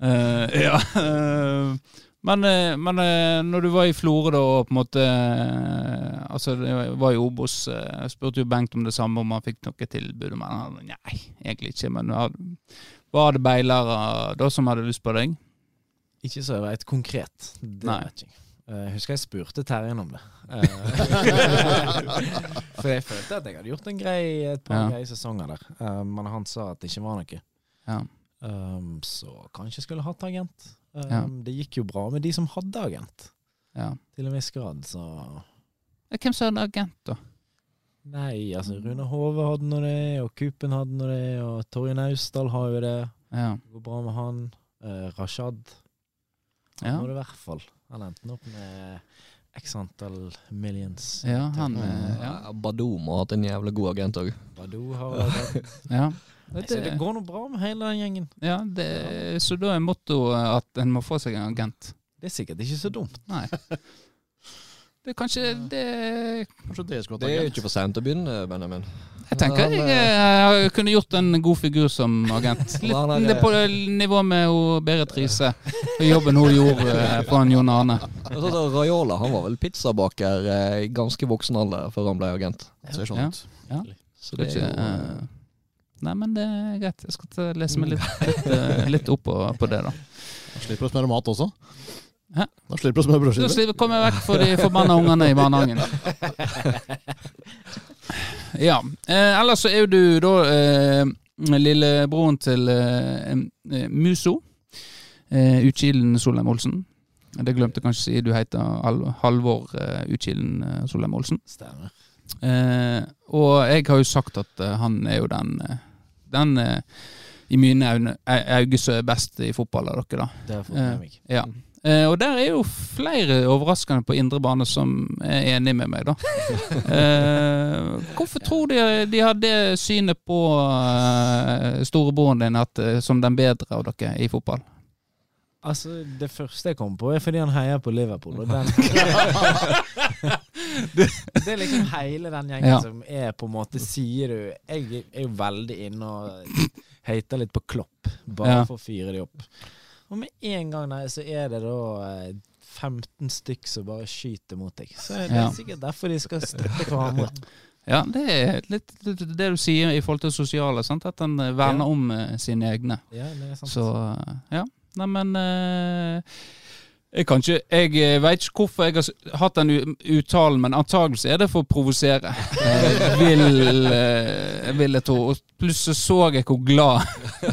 Eh, ja. eh, men, eh, men eh, når du var i Florø da, og på en måte eh, Altså, det var i Obos. eh, Jeg spurte jo Bengt om det samme, om han fikk noe tilbud. Men han nei, egentlig ikke. Men har- var det beilere da som hadde lyst på deg?
Ikke så jeg vet konkret. Det
Nei.
vet jeg ikke. Eh, Jeg husker jeg spurte Terjen om det.
[LAUGHS]
Eh, For jeg følte at jeg hadde gjort en grei, et par
Ja.
greie sesonger der. Eh, Men han sa at det ikke var noe.
Ja.
Um, så kanskje jeg skulle hatt agent. Um,
Ja.
Det gikk jo bra med de som hadde agent,
ja.
til en viss grad, så
Eh, Hvem som hadde agent, da?
Nei, altså Rune Hove hadde nå det, og Kupen hadde nå det, og Torjen Austdal har jo det.
Ja.
Det går bra med han. Eh, Rashad Han
Ja.
var det i hvert fall. Han endte opp med x antall millions. Mm.
Ja, han eh, ja.
Badou må ha hatt en jævla god agent òg.
[LAUGHS]
Badou har vel det.
ja. Det,
Så det går nå bra med hele den gjengen.
ja, det, så da er mottoet at en må få seg en agent.
Det er sikkert ikke
[LAUGHS]
så dumt.
Nei. Det er kanskje det
Kanskje dere skulle
Det
hatt
er jo
agent?
ikke for sent å begynne, Benjamin.
Jeg tenker jeg, eh, jeg kunne gjort en god figur som agent.
[LAUGHS] Han er-
Litt på nivå med hun Berit Riise og jobben hun gjorde eh, for han Jon Arne.
Og så da Altså, Raiola han var vel pizzabaker eh, i ganske voksen alder før han ble agent.
Ser sånn
Ja.
ut.
Så
Skal
det er
ikke,
jo eh,
eh, Nei, men det er greit. Jeg skal ta, lese
Mm.
meg litt, litt, eh, litt opp på, på det, da.
Da slipper du å smøre mat også.
Hæ?
Da slipper du å smøre
Da
brødskiver.
slipper- kommer jeg vekk for de forbanna ungene i barnehagen. Ja. Eh, ellers så er jo du da eh, lillebroren til eh, em- eh, Muso. Eh, Utkilden Solheim Olsen. Det glemte jeg kanskje å si. Du heter Hal- Halvor eh, Utkilden eh, Solheim Olsen.
Stemmer.
Eh, og jeg har jo sagt at eh, han er jo den, eh, den eh, i mine øyne au- auge som er best i fotball av dere, da.
Det har jeg fått med meg.
Ja. Eh, og der er jo flere overraskende på indre bane som er enig med meg, da. Eh, hvorfor tror de de har det synet på eh, storebroren din at, eh, som den bedre av dere i fotball?
Altså, Det første jeg kom på, er fordi han heier på Liverpool. Og
[LAUGHS]
den, det er liksom hele den gjengen
Ja.
som er på en måte Sier du Jeg er jo veldig inne og heter litt på Klopp, bare
Ja.
for å fyre de opp. Og med en gang nei, så er det da eh, 15 stykk som bare skyter mot deg. Så det er
Ja.
sikkert derfor de skal støtte
[LAUGHS]
hverandre.
Ja, det er litt litt det du sier i forhold til det sosiale, sant? at en eh, verner om eh, sine egne.
Ja, det er sant.
Så eh, ja. Neimen jeg kan ikke Jeg veit ikke hvorfor jeg har s- hatt den u- uttalen, men antakelig er det for å provosere. Eh, vil, eh, vil jeg tro. Og plutselig så jeg hvor glad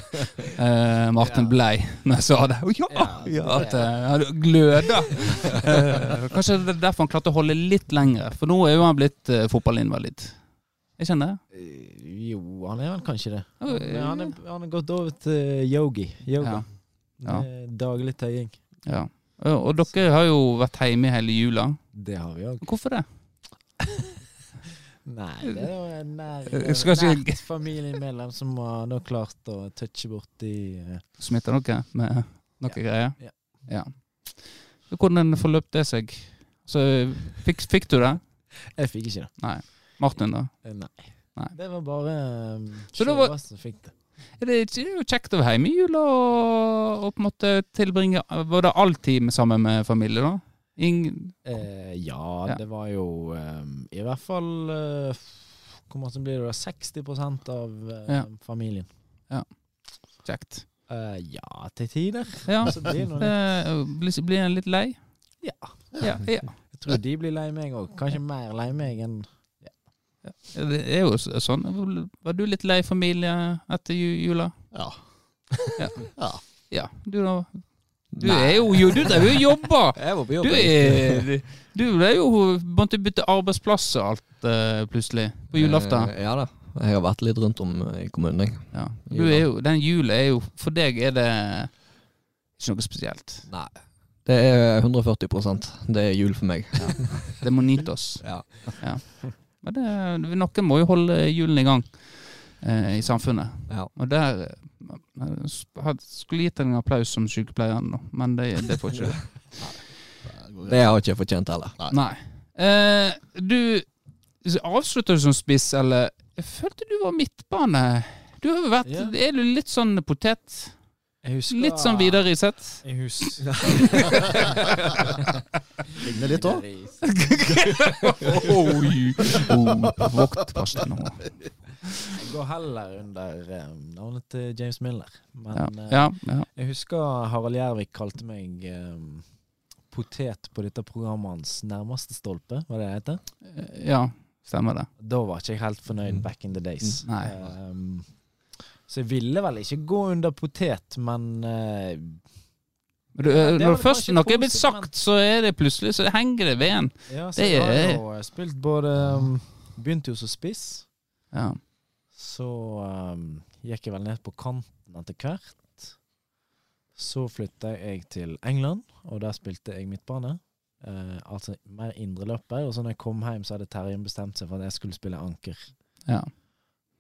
[LAUGHS] eh, Martin
Ja.
blei når jeg sa det. Å, ja, ja, at eh, han gløder. Eh, kanskje det er derfor han klarte å holde litt lenger, for nå er jo han blitt eh, fotballinvalid. Jeg kjenner det.
Eh, Jo, han er vel kanskje det.
Oh,
Men han er, han er gått over til yogi. Yoga.
Ja.
Med Daglig tøying.
Ja. Og dere har jo vært hjemme hele jula.
Det har vi òg.
Hvorfor det?
Nei, det er jo en nær,
Jeg skal ikke-
nært familiemedlem som har nå klart å touche borti eh,
smitter dere med noe
Ja.
greier?
Ja.
ja. Hvordan forløp det seg? Så fikk, fikk du det?
Jeg fikk ikke det.
Martin, da?
Eh, Nei.
Nei.
Det var bare um,
Så det var-
som fikk det.
Er det ikke det er jo kjekt å være hjemme i jula og, og på en måte tilbringe Var det alltid med- sammen med familie, da? Ingen,
Eh, ja,
Ja.
det var jo um, i hvert fall eh, f- Hvor mye blir det? da? 60 av eh,
Ja.
familien.
kjekt.
Eh, ja, til tider.
Ja.
Så blir det noe.
Eh, Blir blir en litt lei?
Ja.
Ja, ja.
Jeg tror de blir lei meg òg. Kanskje mer lei meg enn
Det er jo s- sånn. Var du litt lei familie etter ju- jula?
Ja.
Ja. Du, da? Du
Nei.
er jo, jo Du driver jo og jobber!
Jeg var på
Du
jobb.
er,
[LAUGHS]
du ble jo måtte bytte arbeidsplass og alt eh, plutselig på julaften.
Eh, Ja da. Jeg har vært litt rundt om eh, i kommunen, jeg.
Ja. Du er jo, den julen er jo For deg er det ikke noe spesielt.
Nei. Det er 140 Det er jul for meg.
Det må nyte oss.
[LAUGHS] Ja.
Men det, noen må jo holde julen i gang eh, i samfunnet.
Ja.
Og der eh, jeg skulle gitt en applaus som sykepleieren, nå, men det, det får ikke du.
Det har ikke jeg fortjent heller.
Nei. Eh, du avslutta du som spiss, eller Jeg følte du var midtbane. Du har jo vært
Ja.
Er du litt sånn potet?
Jeg husker
Litt sånn Vidar Riseth?
Jeg
[LAUGHS]
husker
Ligner litt òg.
Oi! Oh, vokt pass deg nå.
Jeg går heller under eh, navnet til James Miller. Men
Ja,
eh,
ja, ja.
jeg husker Harald Gjervik kalte meg eh, potet på dette programmet hans nærmeste stolpe, var det det heter?
ja stemmer det.
Da var ikke jeg helt fornøyd
Mm.
back in the days.
Mm, nei.
Ehm, så jeg ville vel ikke gå under potet, men eh,
Men du, eh,
Ja, det er
når
vel
først
kanskje
noe er blitt
positivt,
sagt, så er det plutselig så henger det ved en.
ja, så
Det
jeg har
er-
jo eh, spilt både um, Begynte jo som spiss,
Ja.
så ehm, gikk jeg vel ned på kanten etter hvert. Så flytta jeg til England, og der spilte jeg midtbane. Eh, altså mer indreløper. Og så når jeg kom hjem, så hadde Terjen bestemt seg for at jeg skulle spille anker.
Ja.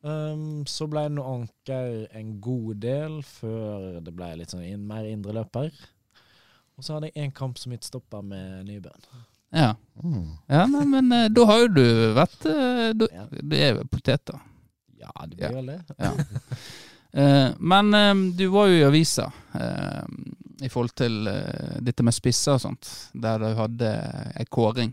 Ehm, så ble nå Anker en god del før det ble litt sånn inn, mer indreløper. Og så hadde jeg en kamp som midtstopper med Nybøen.
Ja.
Mm.
ja nei, men eh, da har jo du vært eh, du,
Ja.
du er jo potet, da.
Ja, det blir vel det.
Eh, men eh, du var jo i avisa eh, i forhold til eh, dette med spisser og sånt, der du hadde ei kåring.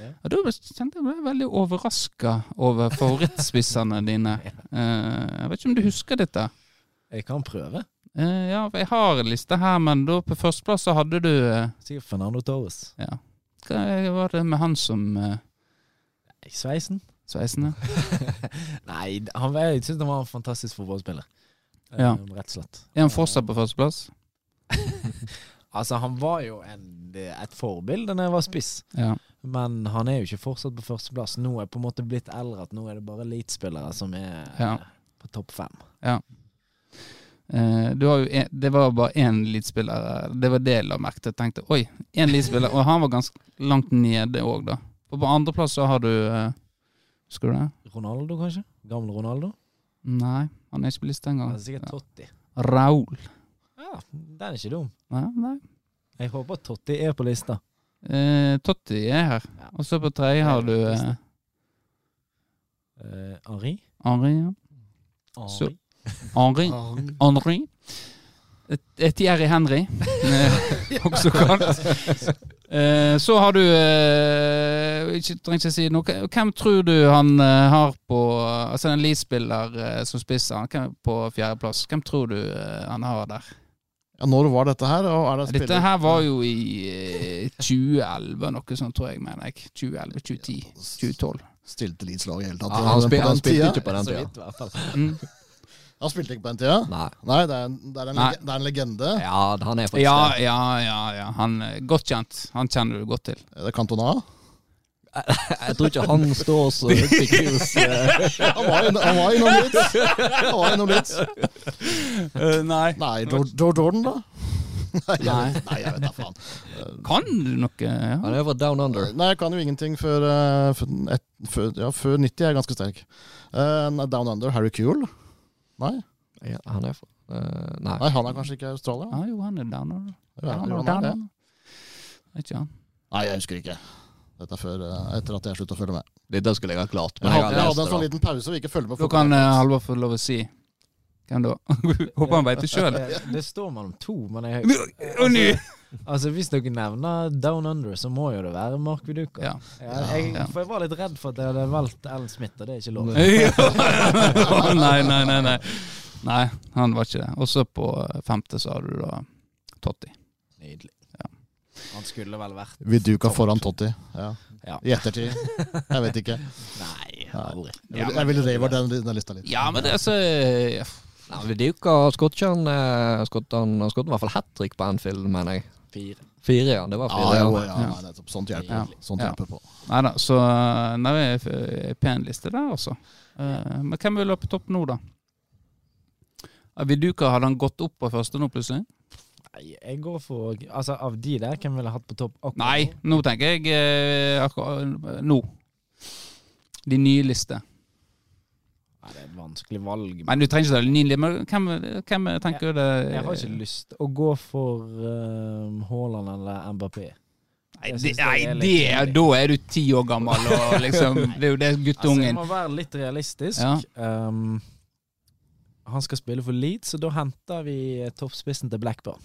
Ja.
Og da ble- kjente jeg meg veldig overraska over favorittspissene dine. Eh, jeg vet ikke om du husker dette?
Jeg kan prøve.
Eh, ja, for jeg har en liste her, men da på førsteplass så hadde du eh,
Sikkert Fernando Torres.
Ja. Hva var det med han som eh,
Nei, Sveisen.
sveisende?
Nei, han var, jeg syns han var en fantastisk fotballspiller.
Ja.
Ehm, rett og slett.
Er han fortsatt på førsteplass?
Altså, han var jo en, et forbilde da jeg var spiss.
Ja.
Men han er jo ikke fortsatt på førsteplass. Nå er jeg på en måte blitt eldre, at nå er det bare elitespillere som er
Ja.
eh, på topp fem.
Eh, du har jo en, det var bare én elitespiller Det var det jeg la merke til. Jeg tenkte oi, én elitespiller. Og han var ganske langt nede òg, da. Og på andreplass så har du eh, Husker du det?
Ronaldo, kanskje? Gamle Ronaldo?
Nei, han er ikke på lista engang.
Han er sikkert Totti.
Raul.
Ja, den er ikke dum.
Nei, nei.
Jeg håper Totti er på lista.
Eh, Totti er her.
Ja.
Og så på tredje har du eh,
Eh, Henri?
Henri. Ja. Så- Henri. Henri. Et- et Thierry Henry, eh, også kalt. Eh, Så har du eh, ikke, Trenger ikke si noe. Hvem tror du han eh, har på Altså en Leeds-spiller eh, som spisser, han hvem på fjerdeplass. Hvem tror du eh, han har der?
Ja, når var dette her? Og er det spiller?
Dette her var jo i eh, 2011, noe sånt, tror jeg, mener jeg. 2011, 2010, 2012.
Stilte Leeds lag i hele tatt?
Ja, Ah, han,
på
spil,
den
han spilte
tida?
ikke på den
Så
tida.
vidt, i hvert fall.
Mm.
Han spilte ikke på den tida?
Nei.
Nei, det er en, det er en,
Nei.
lege- det er en legende.
Ja, han er faktisk
Ja, ja, ja. ja. Han eh, Godt kjent. Han kjenner du godt til.
Er det Cantona?
det. [LAUGHS] Jeg tror ikke han står [LAUGHS] så høyt i kurs. [LAUGHS] eh.
Han var innom- han var innom Leeds! Han var innom Leeds.
nei.
Nei, Joe, Joe Jordan, da? Nei, jeg
Nei.
vet- nei, jeg vet da faen.
Kan du noe? Ja.
Han er fra Down Under.
Nei, jeg kan jo ingenting før, eh, før, et, før, ja, før 90 er jeg ganske sterk. Eh, nei, Down Under, Harry Kuehl? Nei.
Ja, han er fra eh, Nei.
nei, han er kanskje ikke i Australia?
Ja, jo, han er down under.
Jeg vet
Down
ikke
under,
om han
down
er det.
under. Vet ikke han.
Nei, jeg husker ikke. Dette er før, eh, etter at jeg slutta å følge med.
Dette skulle jeg ha klart.
Jeg
Men jeg
hadde,
har
jeg
lest
hadde en
det.
sånn
da.
liten pause hvor vi ikke følger med.
Da kan eh, Halvor få lov å si hvem da. [LAUGHS] Håper han veit det sjøl.
Eh, Det står mellom to, men jeg
Og ny!
Altså, hvis dere nevner Down Under, så må jo det være Mark
[LAUGHS]
Viduka.
Ja.
Ja, jeg,
Ja.
For jeg var litt redd for at jeg hadde valgt Ellen Smith, og det er ikke lov.
[LAUGHS] Å, nei, nei, nei, nei. Nei, han var ikke det. Og så på eh, femte så har du da Totti.
Nydelig. Han skulle vel vært
Viduka foran Totti. Ja.
Ja.
I ettertid. Jeg vet ikke.
Nei,
Nei.
aldri.
Jeg vil, jeg vil revurdere den, den lista litt.
Ja, men det er så eh, ja.
Nei, men det er jo ikke skåret ikke han eh, skåret han, han skåret i hvert fall hat trick på Anfield, mener jeg.
Fire.
Fire, ja. Det var
Ja,
fire.
ja,
ja.
ja, nei, nettopp. Sånt
Ja.
hjelper. Sånt
Ja.
hjelper på.
Nei da, så eh, Nei, det er f- pen liste der, altså. Eh, Men hvem vil ha på topp nå, da? Eh, Viduka, hadde han gått opp på første nå, plutselig?
Nei, jeg går for Altså, av de der, hvem ville hatt på topp akkurat
Nei,
nå?
nå tenker jeg eh, akkurat nå. De nye listene.
Nei, det er et vanskelig valg.
Men du trenger ikke ta de nye listene, men hvem, hvem tenker du det
jeg har ikke lyst å gå for ehm, Haaland eller Mbappé.
Nei,
Jeg
det,
synes det
nei
er litt
det,
tidlig.
da er du ti år gammel, og
[LAUGHS]
liksom Det er jo det
Altså, jeg
guttungen
må være litt realistisk.
Ja.
Ehm, han skal spille for Leeds, så da henter vi toppspissen til Blackburn.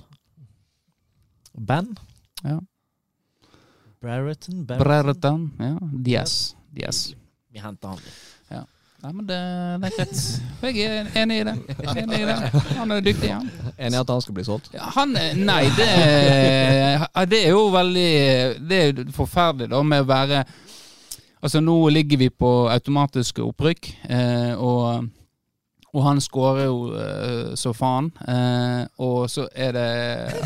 Ben.
Ja.
Brereton. Brereton.
Brereton. Ja. Diaz. Diaz.
Vi henter han.
Nei, men det, det er greit. Jeg er enig i det. Enig i det. Han er dyktig, han.
Enig i at han skal bli solgt.
Ja, Han er- Nei, det er, ja, det er jo veldig Det er jo forferdelig da med å være Altså nå ligger vi på automatiske opprykk, eh, og, og han skårer jo eh, så faen. Eh, og så er det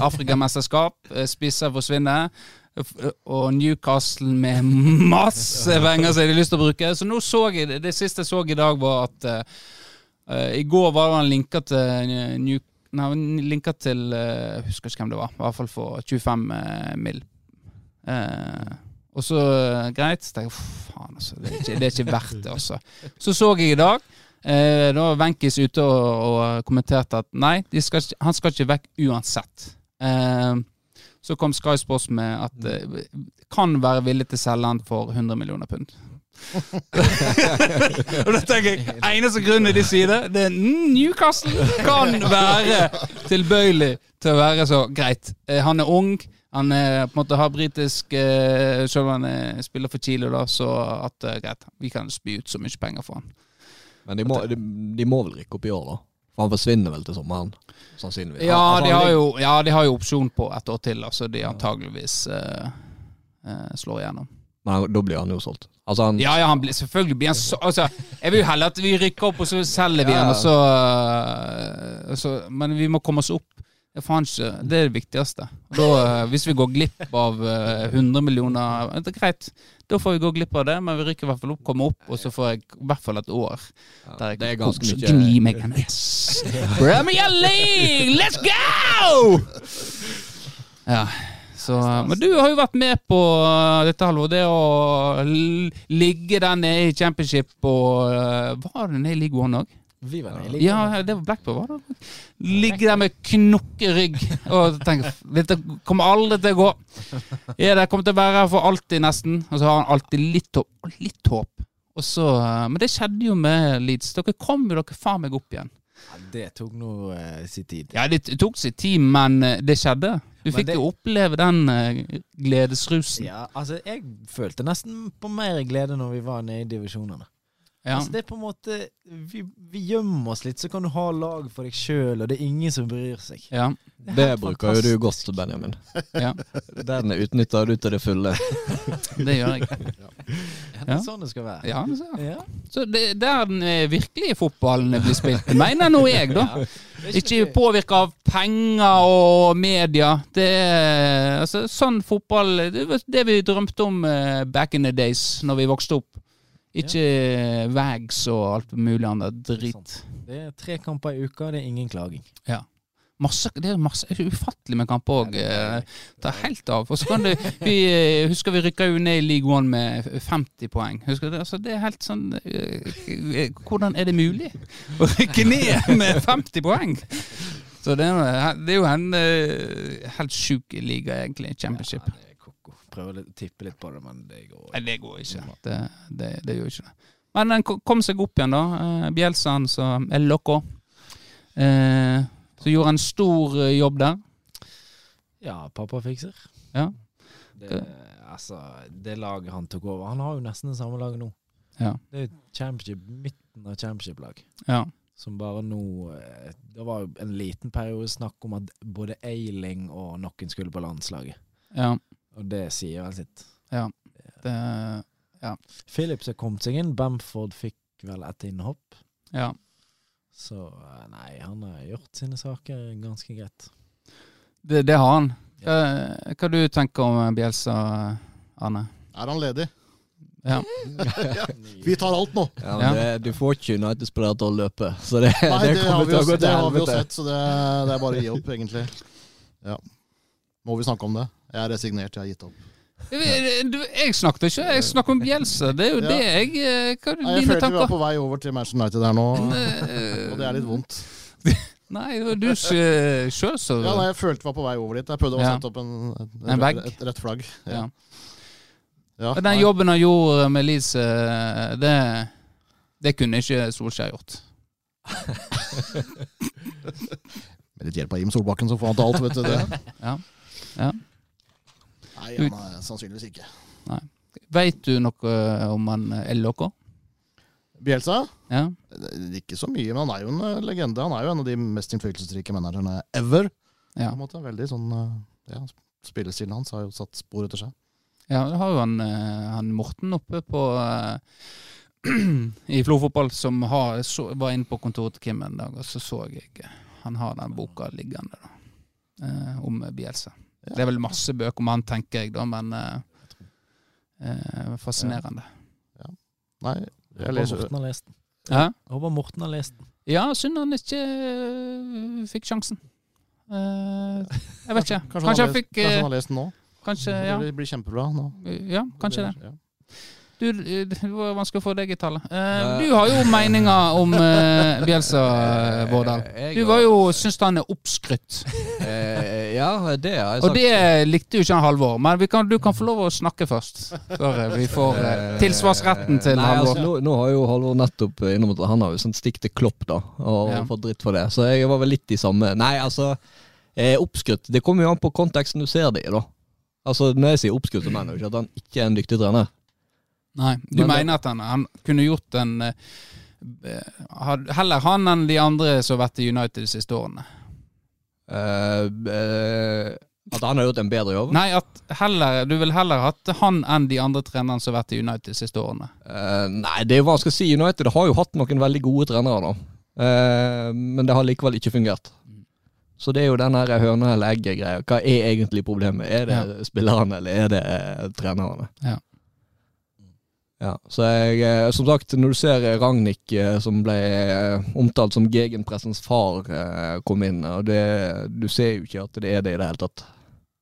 Afrikamesterskap, eh, spisser forsvinner. f- Og Newcastle med masse penger som de har lyst til å bruke. Så nå så jeg det, det siste jeg så i dag, var at eh, Eh, I går var det en linka til eh, New, Nei, linka til eh, Jeg husker ikke hvem det var. I hvert fall for 25 eh, mill. Eh, og så eh, greit. Så tenkte jeg "Uff, faen, altså. Det er ikke, det er ikke verdt det, altså. Så så jeg i dag Eh, da var Wenchis ute og, og eh, kommenterte at nei, de skal, ikke- han skal ikke vekk uansett. Eh, så kom Sky Sports med at eh, kan være villig til å selge han for 100 millioner pund. og da tenker jeg eneste grunnen de sier det, det er mm, Newcastle kan være tilbøyelig til å være så greit. Eh, han er ung. Han er, på en måte har britisk eh, Selv om han er, spiller for Chile, da, så at eh, greit, vi kan spy ut så mye penger for han.
Men de må, de, de må vel rykke opp i år, da? For han forsvinner vel til sommeren, sannsynligvis.
Ja,
Han-
de
han
har
ligger-
jo, ja, de har jo opsjon på ett år til, da, så de antageligvis eh, eh, slår igjennom.
Men han, da blir han jo solgt. Altså, han
Ja, ja, han blir, selvfølgelig blir han så altså, Jeg vil jo heller at vi rykker opp, og så selger vi
Ja,
han,
ja.
og så, eh, og så Men vi må komme oss opp. Det er, faen ikke, det, er det viktigste. Da, eh, hvis vi går glipp av eh, 100 millioner eh, Det er greit, da får vi gå glipp av det, men vi rykker i hvert fall opp, kommer opp, og så får jeg i hvert fall et år der jeg
Det er
kan
ganske
kose-
mye
Gni meg en yes! Premier League, let's go! Ja, så, men du har jo vært med på uh, dette, Halvor. Det å l- ligge der nede i championship og uh, Var det nede i League One òg?
Vi var nede i ligaen.
Ja, det var Blackburn, var det? Ligge der med knokkerygg og tenke "F- Dette kommer aldri til å gå. Ja, det kommer til å være her for alltid, nesten. Og så har han alltid litt håp. og Litt håp. Og så, uh, men det skjedde jo med Leeds. Dere kom jo dere faen meg opp igjen.
Ja, Det tok nå eh, sin tid.
Ja, det t- tok sin tid, men eh, det skjedde. Du
Men
fikk
det-
jo oppleve den eh, gledesrusen.
Ja, altså, jeg følte nesten på mer glede når vi var nede i divisjonene.
Ja.
Altså, det er på en måte vi, vi gjemmer oss litt, så kan du ha lag for deg sjøl, og det er ingen som bryr seg.
Ja.
Det bruker jo du godt, Benjamin.
Ja.
Den utnytter du til det fulle.
Det gjør jeg.
Det er sånn det skal være.
Ja, det ser jeg.
Ja.
Så det, der den eh, virkelige fotballen blir spilt, mener nå jeg, da. Ikke påvirka av penger og media. Det er altså, sånn fotball Det var det vi drømte om eh, back in the days, når vi vokste opp. Ikke eh, Wags og alt mulig annet
Sånn.
drit.
Det er tre kamper i uka, det er ingen klaging.
Masse, det er masse det er ufattelig med eh, kamper òg. Ta helt av. Og så kan du vi, eh, Husker vi rykka jo ned i League One med 50 poeng. Husker du det? Altså, det er helt sånn eh, Hvordan er det mulig å rykke ned med 50 poeng? Så det er, det er jo en eh, helt sjuk liga, egentlig. Championship.
Ja, det er koko. Prøver å tippe litt på det, men det går
Nei, det går ikke. Det, det, det gjør ikke det. Men den ko- kom seg opp igjen, da. Eh, Bjelsan, så El Loco. Eh, så gjorde en stor eh, jobb der.
Ja, pappa fikser.
Ja.
Det, altså, det laget han tok over Han har jo nesten det samme laget nå.
Ja.
Det er jo championship, midten av championship-lag.
Ja.
Som bare nå eh, Det var jo en liten periode snakk om at både Eiling og noen skulle på landslaget.
ja.
Og det sier vel sitt.
Det,
Phillips har kommet seg inn. Bamford fikk vel et innhopp.
ja.
Så eh, nei, han har gjort sine saker ganske greit.
det, det har han. Hva, hva du tenker om eh, Bjelsa, Arne?
Er han ledig?
Ja.
[LAUGHS] Vi tar alt nå!
Ja, men det, du får ikke United spillere til å løpe, så det,
Nei, det, har,
kommer
vi jo,
til å gå
det
til
har vi jo
helvete.
sett, så det, det er bare å gi opp, egentlig. Ja. Må vi snakke om det? Jeg er resignert, jeg har gitt opp.
Jeg, du- jeg snakket ikke, jeg snakket om Bjelsa. Det er jo
Ja.
det jeg eh, Hva er
Nei,
dine
jeg følte vi var
tanker?
på vei over til Manchester United her nå,
Eh,
[LAUGHS] og det er litt vondt.
Nei, det var du eh, sjøl som
Ja, nei, jeg følte vi var på vei over dit. Jeg prøvde å
Ja.
sette opp en, et,
En vegg.
et, et rødt flagg.
ja.
Ja,
Men
nei.
Den jobben han gjorde med Elise, det, det kunne ikke Solskjær gjort.
Med litt hjelp av Jim Solbakken, så får han til alt, vet du [LAUGHS] det.
Ja. Ja.
Nei, han er sannsynligvis ikke.
Veit du noe om han eh, LHK?
Bjelsa?
Ja.
Ikke så mye, men han er jo en eh, legende. Han er jo en av de mest innflytelsesrike managerne ever.
Ja.
På en måte. Veldig sånn eh, ja, Spillestilen hans har jo satt spor etter seg.
Ja, da har jo han, eh, han Morten oppe på eh, [CLEARS THROAT] i Flo fotball som har, så, var inne på kontoret til Kim en dag, og så så jeg eh, han har den boka liggende da, eh, om Bielse.
Ja.
Det er vel masse bøker om han, tenker jeg, da, men eh, eh, fascinerende.
Nei, jeg
Håper
leser
Morten har lest den.
Ja,
Håper Morten har lest den.
ja synd han ikke eh, fikk sjansen. Eh, jeg vet ikke. Kanskje,
han har
han
lest-
fikk
kanskje
eh,
han har lest den nå?
Kanskje, ja.
Det blir kjempebra nå.
ja. Kanskje det.
Ja.
Du, eh, det var vanskelig å få deg i tallet. Eh, du har jo meninger om eh, Bjelsa, eh, Vårdal.
[LAUGHS] Jeg
Du
har-
var jo, syns han er oppskrytt.
Eh, ja, det har jeg sagt.
Og det likte jo ikke han Halvor. Men vi kan, du kan få lov å snakke først. Før eh, vi får eh, tilsvarsretten til
Nei, altså,
Halvor.
nå, nå har jo Halvor nettopp innom at han har jo sånn stikk til klopp, da, og
Ja.
fått dritt for det. Så jeg var vel litt i samme Nei, altså, eh, oppskrytt Det kommer jo an på konteksten du ser det i, da. Altså, Når jeg sier oppskrytt, så mener jeg jo ikke at han ikke er en dyktig trener.
Nei, du
Men det-
mener at han, han kunne gjort en eh, eh, had- Heller han enn de andre som har vært i United de siste årene.
Eh, eh, at han har gjort en bedre jobb?
Nei, at heller, du vil heller hatt han enn de andre trenerne som har vært i United de siste årene.
Eh, nei, det er jo hva jeg skal si. United har jo hatt noen veldig gode trenere, da. Eh, men det har likevel ikke fungert. Så det er jo den her høna eller egget-greia. Hva er egentlig problemet? Er det spillerne, eller er det eh, trenerne?
Ja.
Ja, så jeg, eh, som sagt, når du ser eh, Ragnhild, eh, som ble eh, omtalt som gegenpressens far, eh, kom inn, og det, du ser jo ikke at det er det i det hele tatt.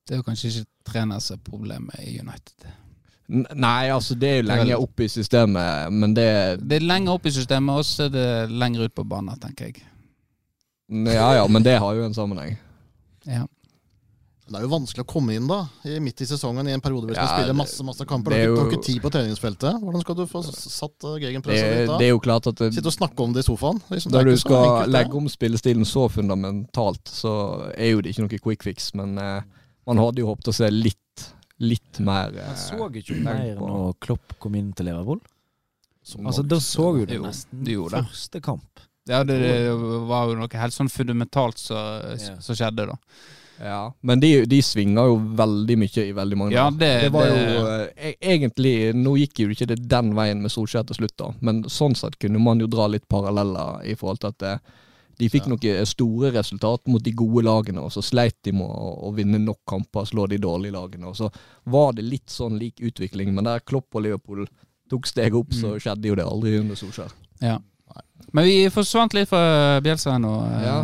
Det er jo kanskje ikke treners problem i United.
N nei, altså, det er jo
Det er vel-
lenger oppe i systemet, men det
Det er lenger opp i systemet, og så er det lenger ut på banen, tenker jeg.
Ja ja, men det har jo en sammenheng.
Ja.
Det er jo vanskelig å komme inn da, i- midt i sesongen i en periode hvor du skal
Ja,
spille
det-
masse masse kamper.
det er
Du har
jo-
ikke tid på treningsfeltet. Hvordan skal du få s- satt eh,
Det,
gegenpresset ditt da?
det er jo klart at det,
Sitte og snakke om det i sofaen? Liksom,
der
det er
du
ikke så enkelt,
skal
det.
legge om spillestilen så fundamentalt, så er jo det ikke noe quick fix. Men eh, man hadde jo håpet å se litt, litt mer eh,
Man så ikke
tenk
mer
på-
når Klopp kom inn til Liverpool.
Som
Altså,
Norge
Da
spiller.
så jo du
Jo,
nesten
du gjorde det.
første kamp.
Ja, det, det var jo noe helt sånn fundamentalt som
Ja.
som skjedde, da.
ja. Men de, de svinger jo veldig mye i veldig mange
Ja,
år.
det,
Det var jo eh, e- egentlig Nå gikk jo ikke det den veien med Solskjær til slutt, da. Men sånn sett kunne man jo dra litt paralleller i forhold til at eh, de fikk noen eh, store resultat mot de gode lagene, og så sleit de med å, å vinne nok kamper, slå de dårlige lagene. Og så var det litt sånn lik utvikling, men der Klopp og Liverpool tok steget opp, så skjedde jo det aldri under Solskjær.
Men vi forsvant litt fra Bjelsa nå. eh,
Ja.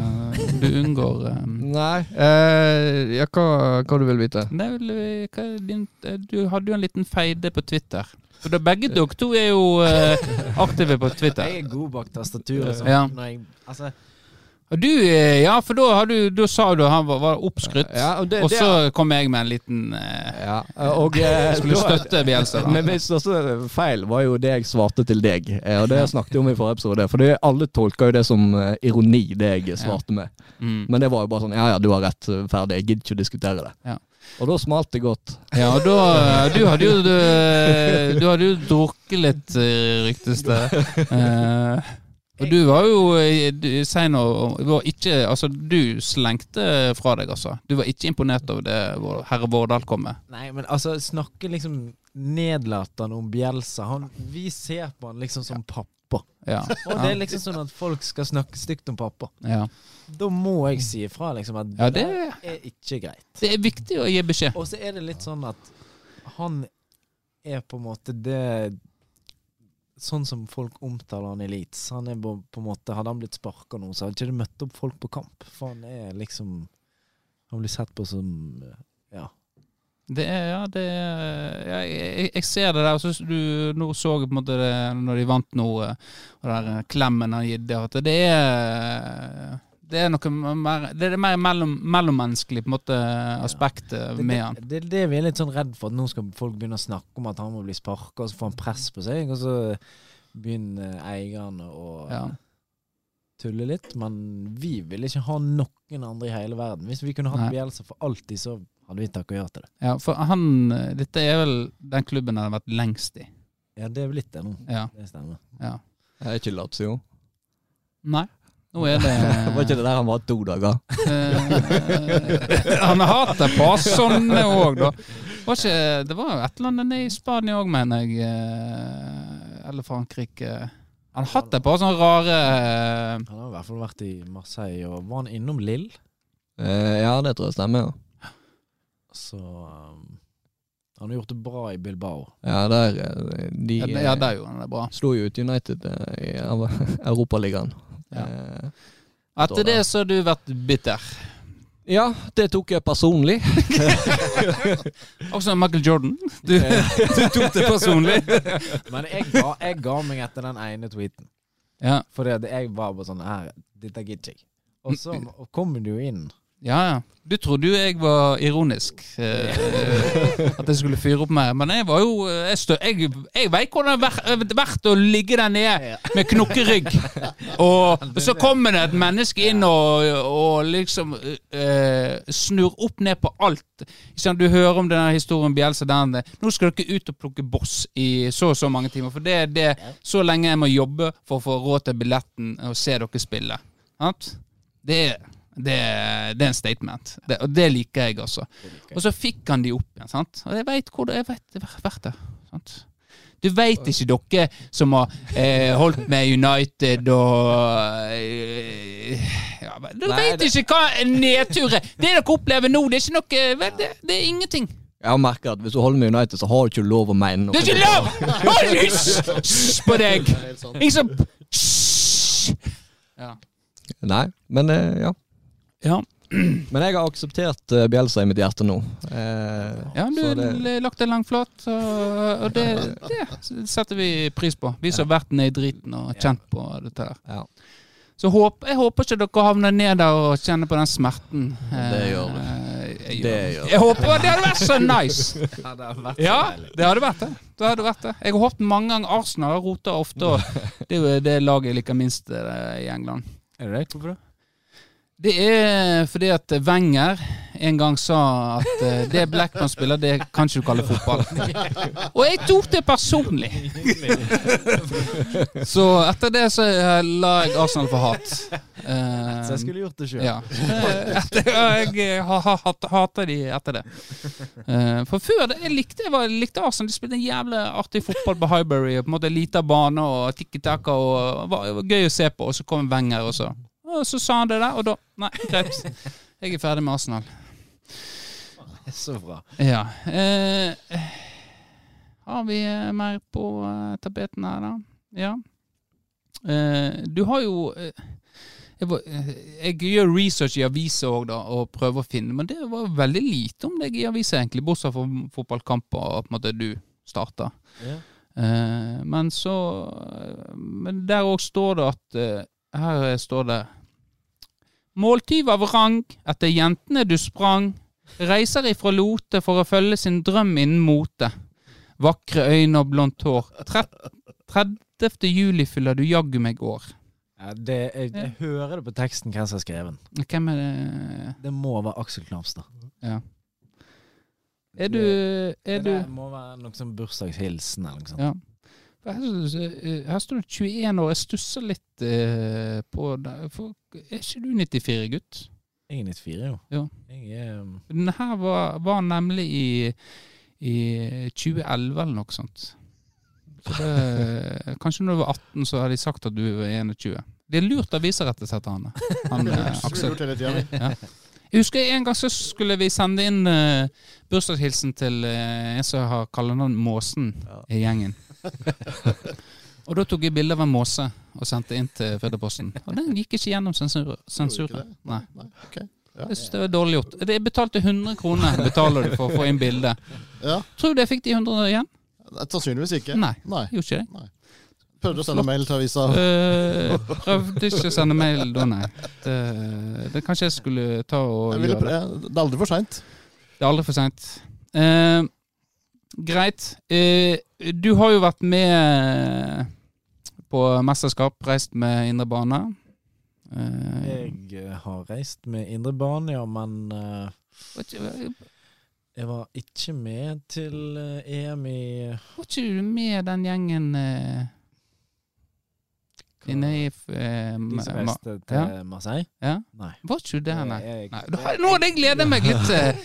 Du unngår eh,
Nei, eh, ja, hva, hva du vil vite?
Nei, vel, eh, hva er din, eh, du hadde jo en liten feide på Twitter. For da begge dere to er jo eh, aktive på Twitter.
Jeg er god bak tastaturet. sånn,
Ja.
når jeg- Altså,
Og du, eh, ja, for da, har du, da sa du han var, var oppskrytt.
Ja, og det-
og
det
så kom jeg med en liten eh,
Ja, og [LAUGHS] eh,
Skulle
da-
støtte Bjelsa, da.
Men min største feil var jo det jeg svarte til deg, eh,
[LAUGHS]
og det snakket jeg om i forrige episode. For det, alle tolker jo det som eh, ironi, det jeg svarte med.
Mm.
Men det var jo bare sånn ja ja, du har rett, ferdig, jeg gidder ikke å diskutere det.
Ja.
Og da smalt det godt.
Ja, og da Du hadde jo Du, du hadde jo drukket litt, eh, ryktes det. Eh, og du var jo eh, du- Si nå du var ikke Altså, du slengte fra deg, altså. Du var ikke imponert over det vår herre Vårdal kom med.
nei, men altså, snakke liksom nedlatende om Bjelsa. Han, vi ser på han liksom som pappa.
Ja.
Og det er liksom sånn at folk skal snakke stygt om pappa.
Ja,
Da må jeg si ifra liksom at
ja
det
det,
er ikke greit.
det er viktig å gi beskjed.
Og så er det litt sånn at han er på en måte det Sånn som folk omtaler han i Leeds. Han er på, på en måte, hadde han blitt sparka nå, så hadde ikke det møtt opp folk på kamp. For han er liksom Han blir sett på som Ja.
Det er, ja, det er, ja, jeg, jeg- jeg ser det der. og Så du nå så jeg på en måte det, når de vant nå, eh, og den der klemmen han gitt, det, at det er det er noe mer, det er det mer mellom, mellommenneskelig på en måte aspekt eh,
Det,
med han.
det, det, det er vi er litt sånn redd for, at nå skal folk begynne å snakke om at han må bli sparka, og så får han press på seg, og så begynner eierne å
Ja.
tulle litt. Men vi vil ikke ha noen andre i hele verden. Hvis vi kunne hatt
Nei.
Bjelsa for alltid, så hadde vi takka ja til det.
Ja, for han, eh, dette er vel den klubben han har vært lengst i.
Ja, det er blitt det nå.
Ja,
Det stemmer.
ja.
Jeg er ikke Lazio.
Nei, nå er
Var ikke
det
det der han var to dager?
eh, [LAUGHS] Han har hatt et par sånne òg, da. Var ikke, det var jo et eller annet nede i Spania òg, mener jeg. eh, Eller Frankrike. Han har hatt et par sånne rare eh,
Han har i hvert fall vært i Marseille, og var han innom Lill,
Eh, ja, det tror jeg stemmer, ja.
så um, Han har gjort det bra i Bilbao.
Ja, der, eh, de
Ja, det-
eh,
ja, der gjorde han det bra.
slo jo ut United eh, i Europa- [LAUGHS] Europaligaen.
Ja.
Eh,
Etter det så har du vært bitter.
Ja, det tok jeg personlig.
Også Michael Jordan. Du, du tok det personlig.
Men jeg ga, jeg ga meg etter den ene tweeten.
Ja,
Fordi at jeg var bare sånn her, Dette gidder jeg ikke. Og så kom du jo inn.
ja. ja. Du trodde jo jeg var ironisk. [LAUGHS] eh, at jeg skulle fyre opp mer. Men jeg var jo eh, Jeg, stø, jeg, jeg veit hvordan det har vært- vært å ligge der nede med [LAUGHS] knokkerygg, og, og så kommer det et menneske inn og, og liksom eh, snur opp ned på alt. Ikke sant, du hører om denne historien Bjelsa der eh, Nå skal dere ut og plukke boss i så og så mange timer. For det er det så lenge jeg må jobbe for å få råd til billetten og se dere spille. Sant? Det er det, er- det er en statement, det, og det liker jeg, altså. Og så fikk han de opp igjen. sant? Og jeg veit hvor det jeg vet, det har vært der. sant? Du veit ikke dere som har eh, holdt med United og eh, ja, men Du
Nei,
veit ikke hva en nedtur er! Det dere opplever nå, det er ikke noe vet, det, det er ingenting.
Jeg har merket at hvis du holder med United, så har du ikke lov å mene noe.
Det er ikke lov! Hold hysj hysj på deg!
Det er helt sant.
Ingen som Hysj! Ja.
Nei, men eh, ja.
Ja.
Men jeg har akseptert eh, Bjelsa i mitt hjerte nå. Eh,
ja, du
så det,
har lagt deg langflat, og, og det, det setter vi pris på. Vi som har vært nede i driten og kjent på dette her.
ja.
Så håp, jeg håper ikke dere havner ned der og kjenner på den smerten.
Det gjør du.
Eh, jeg,
Det
gjør.
gjør du.
jeg håper Det hadde vært så
[LAUGHS]
nice! Ja, det hadde vært det. det, hadde vært det. Jeg har håpet mange ganger Arsenal har rota
[LAUGHS]
ofte, og det er jo det laget jeg liker minst eh, i England.
Er det det? Hvorfor det?
Det er fordi at Wenger en gang sa at eh, det Blackman spiller, det kan ikke du kalle
[LAUGHS]
fotball. Og jeg tok det personlig. Så etter det så eh, la jeg Arsenal for hat. Eh,
Så jeg skulle gjort det sjøl.
ja. Eh, Etter, og jeg eh, ha, ha, hat- hater de etter det. Eh, For før det, jeg likte, jeg var, likte Arsenal. De spilte en jævlig artig fotball på Highbury. og På en måte Lita bane og tikki-taka. og var, det var Gøy å se på. Og så kom Wenger også. Og så sa han det der, og da Nei, greit. Jeg er ferdig med Arsenal.
[LAUGHS] Så bra.
Ja. Eh, har vi eh, mer på eh, tapeten her, da? Ja. Eh, du har jo eh, jeg, var- eh, jeg gjør research i aviser òg, da, og prøver å finne Men det var veldig lite om deg i aviser, egentlig, bortsett fra fotballkamper og på en måte du starta.
Ja.
Eh, men så eh, Men der òg står det at eh, Her står det Måltyv av rang etter jentene du sprang. Reiser ifra Lote for å følge sin drøm innen mote. Vakre øyne og blondt hår. Tre- 30. juli fyller du jaggu meg år.
Ja, det, jeg, jeg hører det på teksten hvem som har skrevet den.
Hvem er det
Det må være Aksel Knapstad.
Er du, er
Det
du
der må være noe sånn bursdagshilsen eller noe sånt.
Ja. Her synes jeg, eh, Her står du 21 år. Jeg stusser litt eh, på det. For, er ikke du 94, gutt?
Jeg er 94, jo.
Ja.
Jeg er um,
Den her var, var nemlig i, i 2011 eller noe sånt. Så
[LAUGHS]
det, kanskje når du var 18, så hadde de sagt at du var 21. Det er lurt aviser, rett og slett, Arne. Han, eh, Aksel.
Lurt hele tiden, vi.
Jeg husker en gang så skulle vi sende inn eh, bursdagshilsen til eh, en som har kallenavn Måsen i
[LAUGHS]
gjengen. Og da tok jeg bilde av en måse og sendte inn til Fødeposten. Og den gikk ikke gjennom sensur-
Gjorde
sensuren.
ikke det?
Nei.
Nei, ok.
Jeg synes det var dårlig gjort. Det- Jeg betalte 100 kroner betaler du for å få inn bilde.
Ja,
Tror du jeg fikk de 100 igjen?
Nei, Sannsynligvis ikke.
Nei.
Nei.
Gjorde ikke det.
Prøvde å sende mail til avisa.
Øh, prøvde ikke å sende mail da, nei. Det, det kanskje jeg skulle ta og
Jeg ville
gjøre.
prø det er aldri for seint.
Det er aldri for seint. Eh, greit. Eh, du har jo vært med på mesterskap, reist med indre bane. Eh,
Jeg eh, har reist med indre bane, ja, men eh,
var ikke
jeg var ikke med til eh, EM i
var ikke du med den gjengen eh, inne i eh,
De som
ma-
reiste til
ja.
Marseille?
Ja.
Nei. Eh,
Var ikke du der, nei?
Jeg-
nei. da har- Nå hadde jeg gledet meg litt.
[LAUGHS]
eh.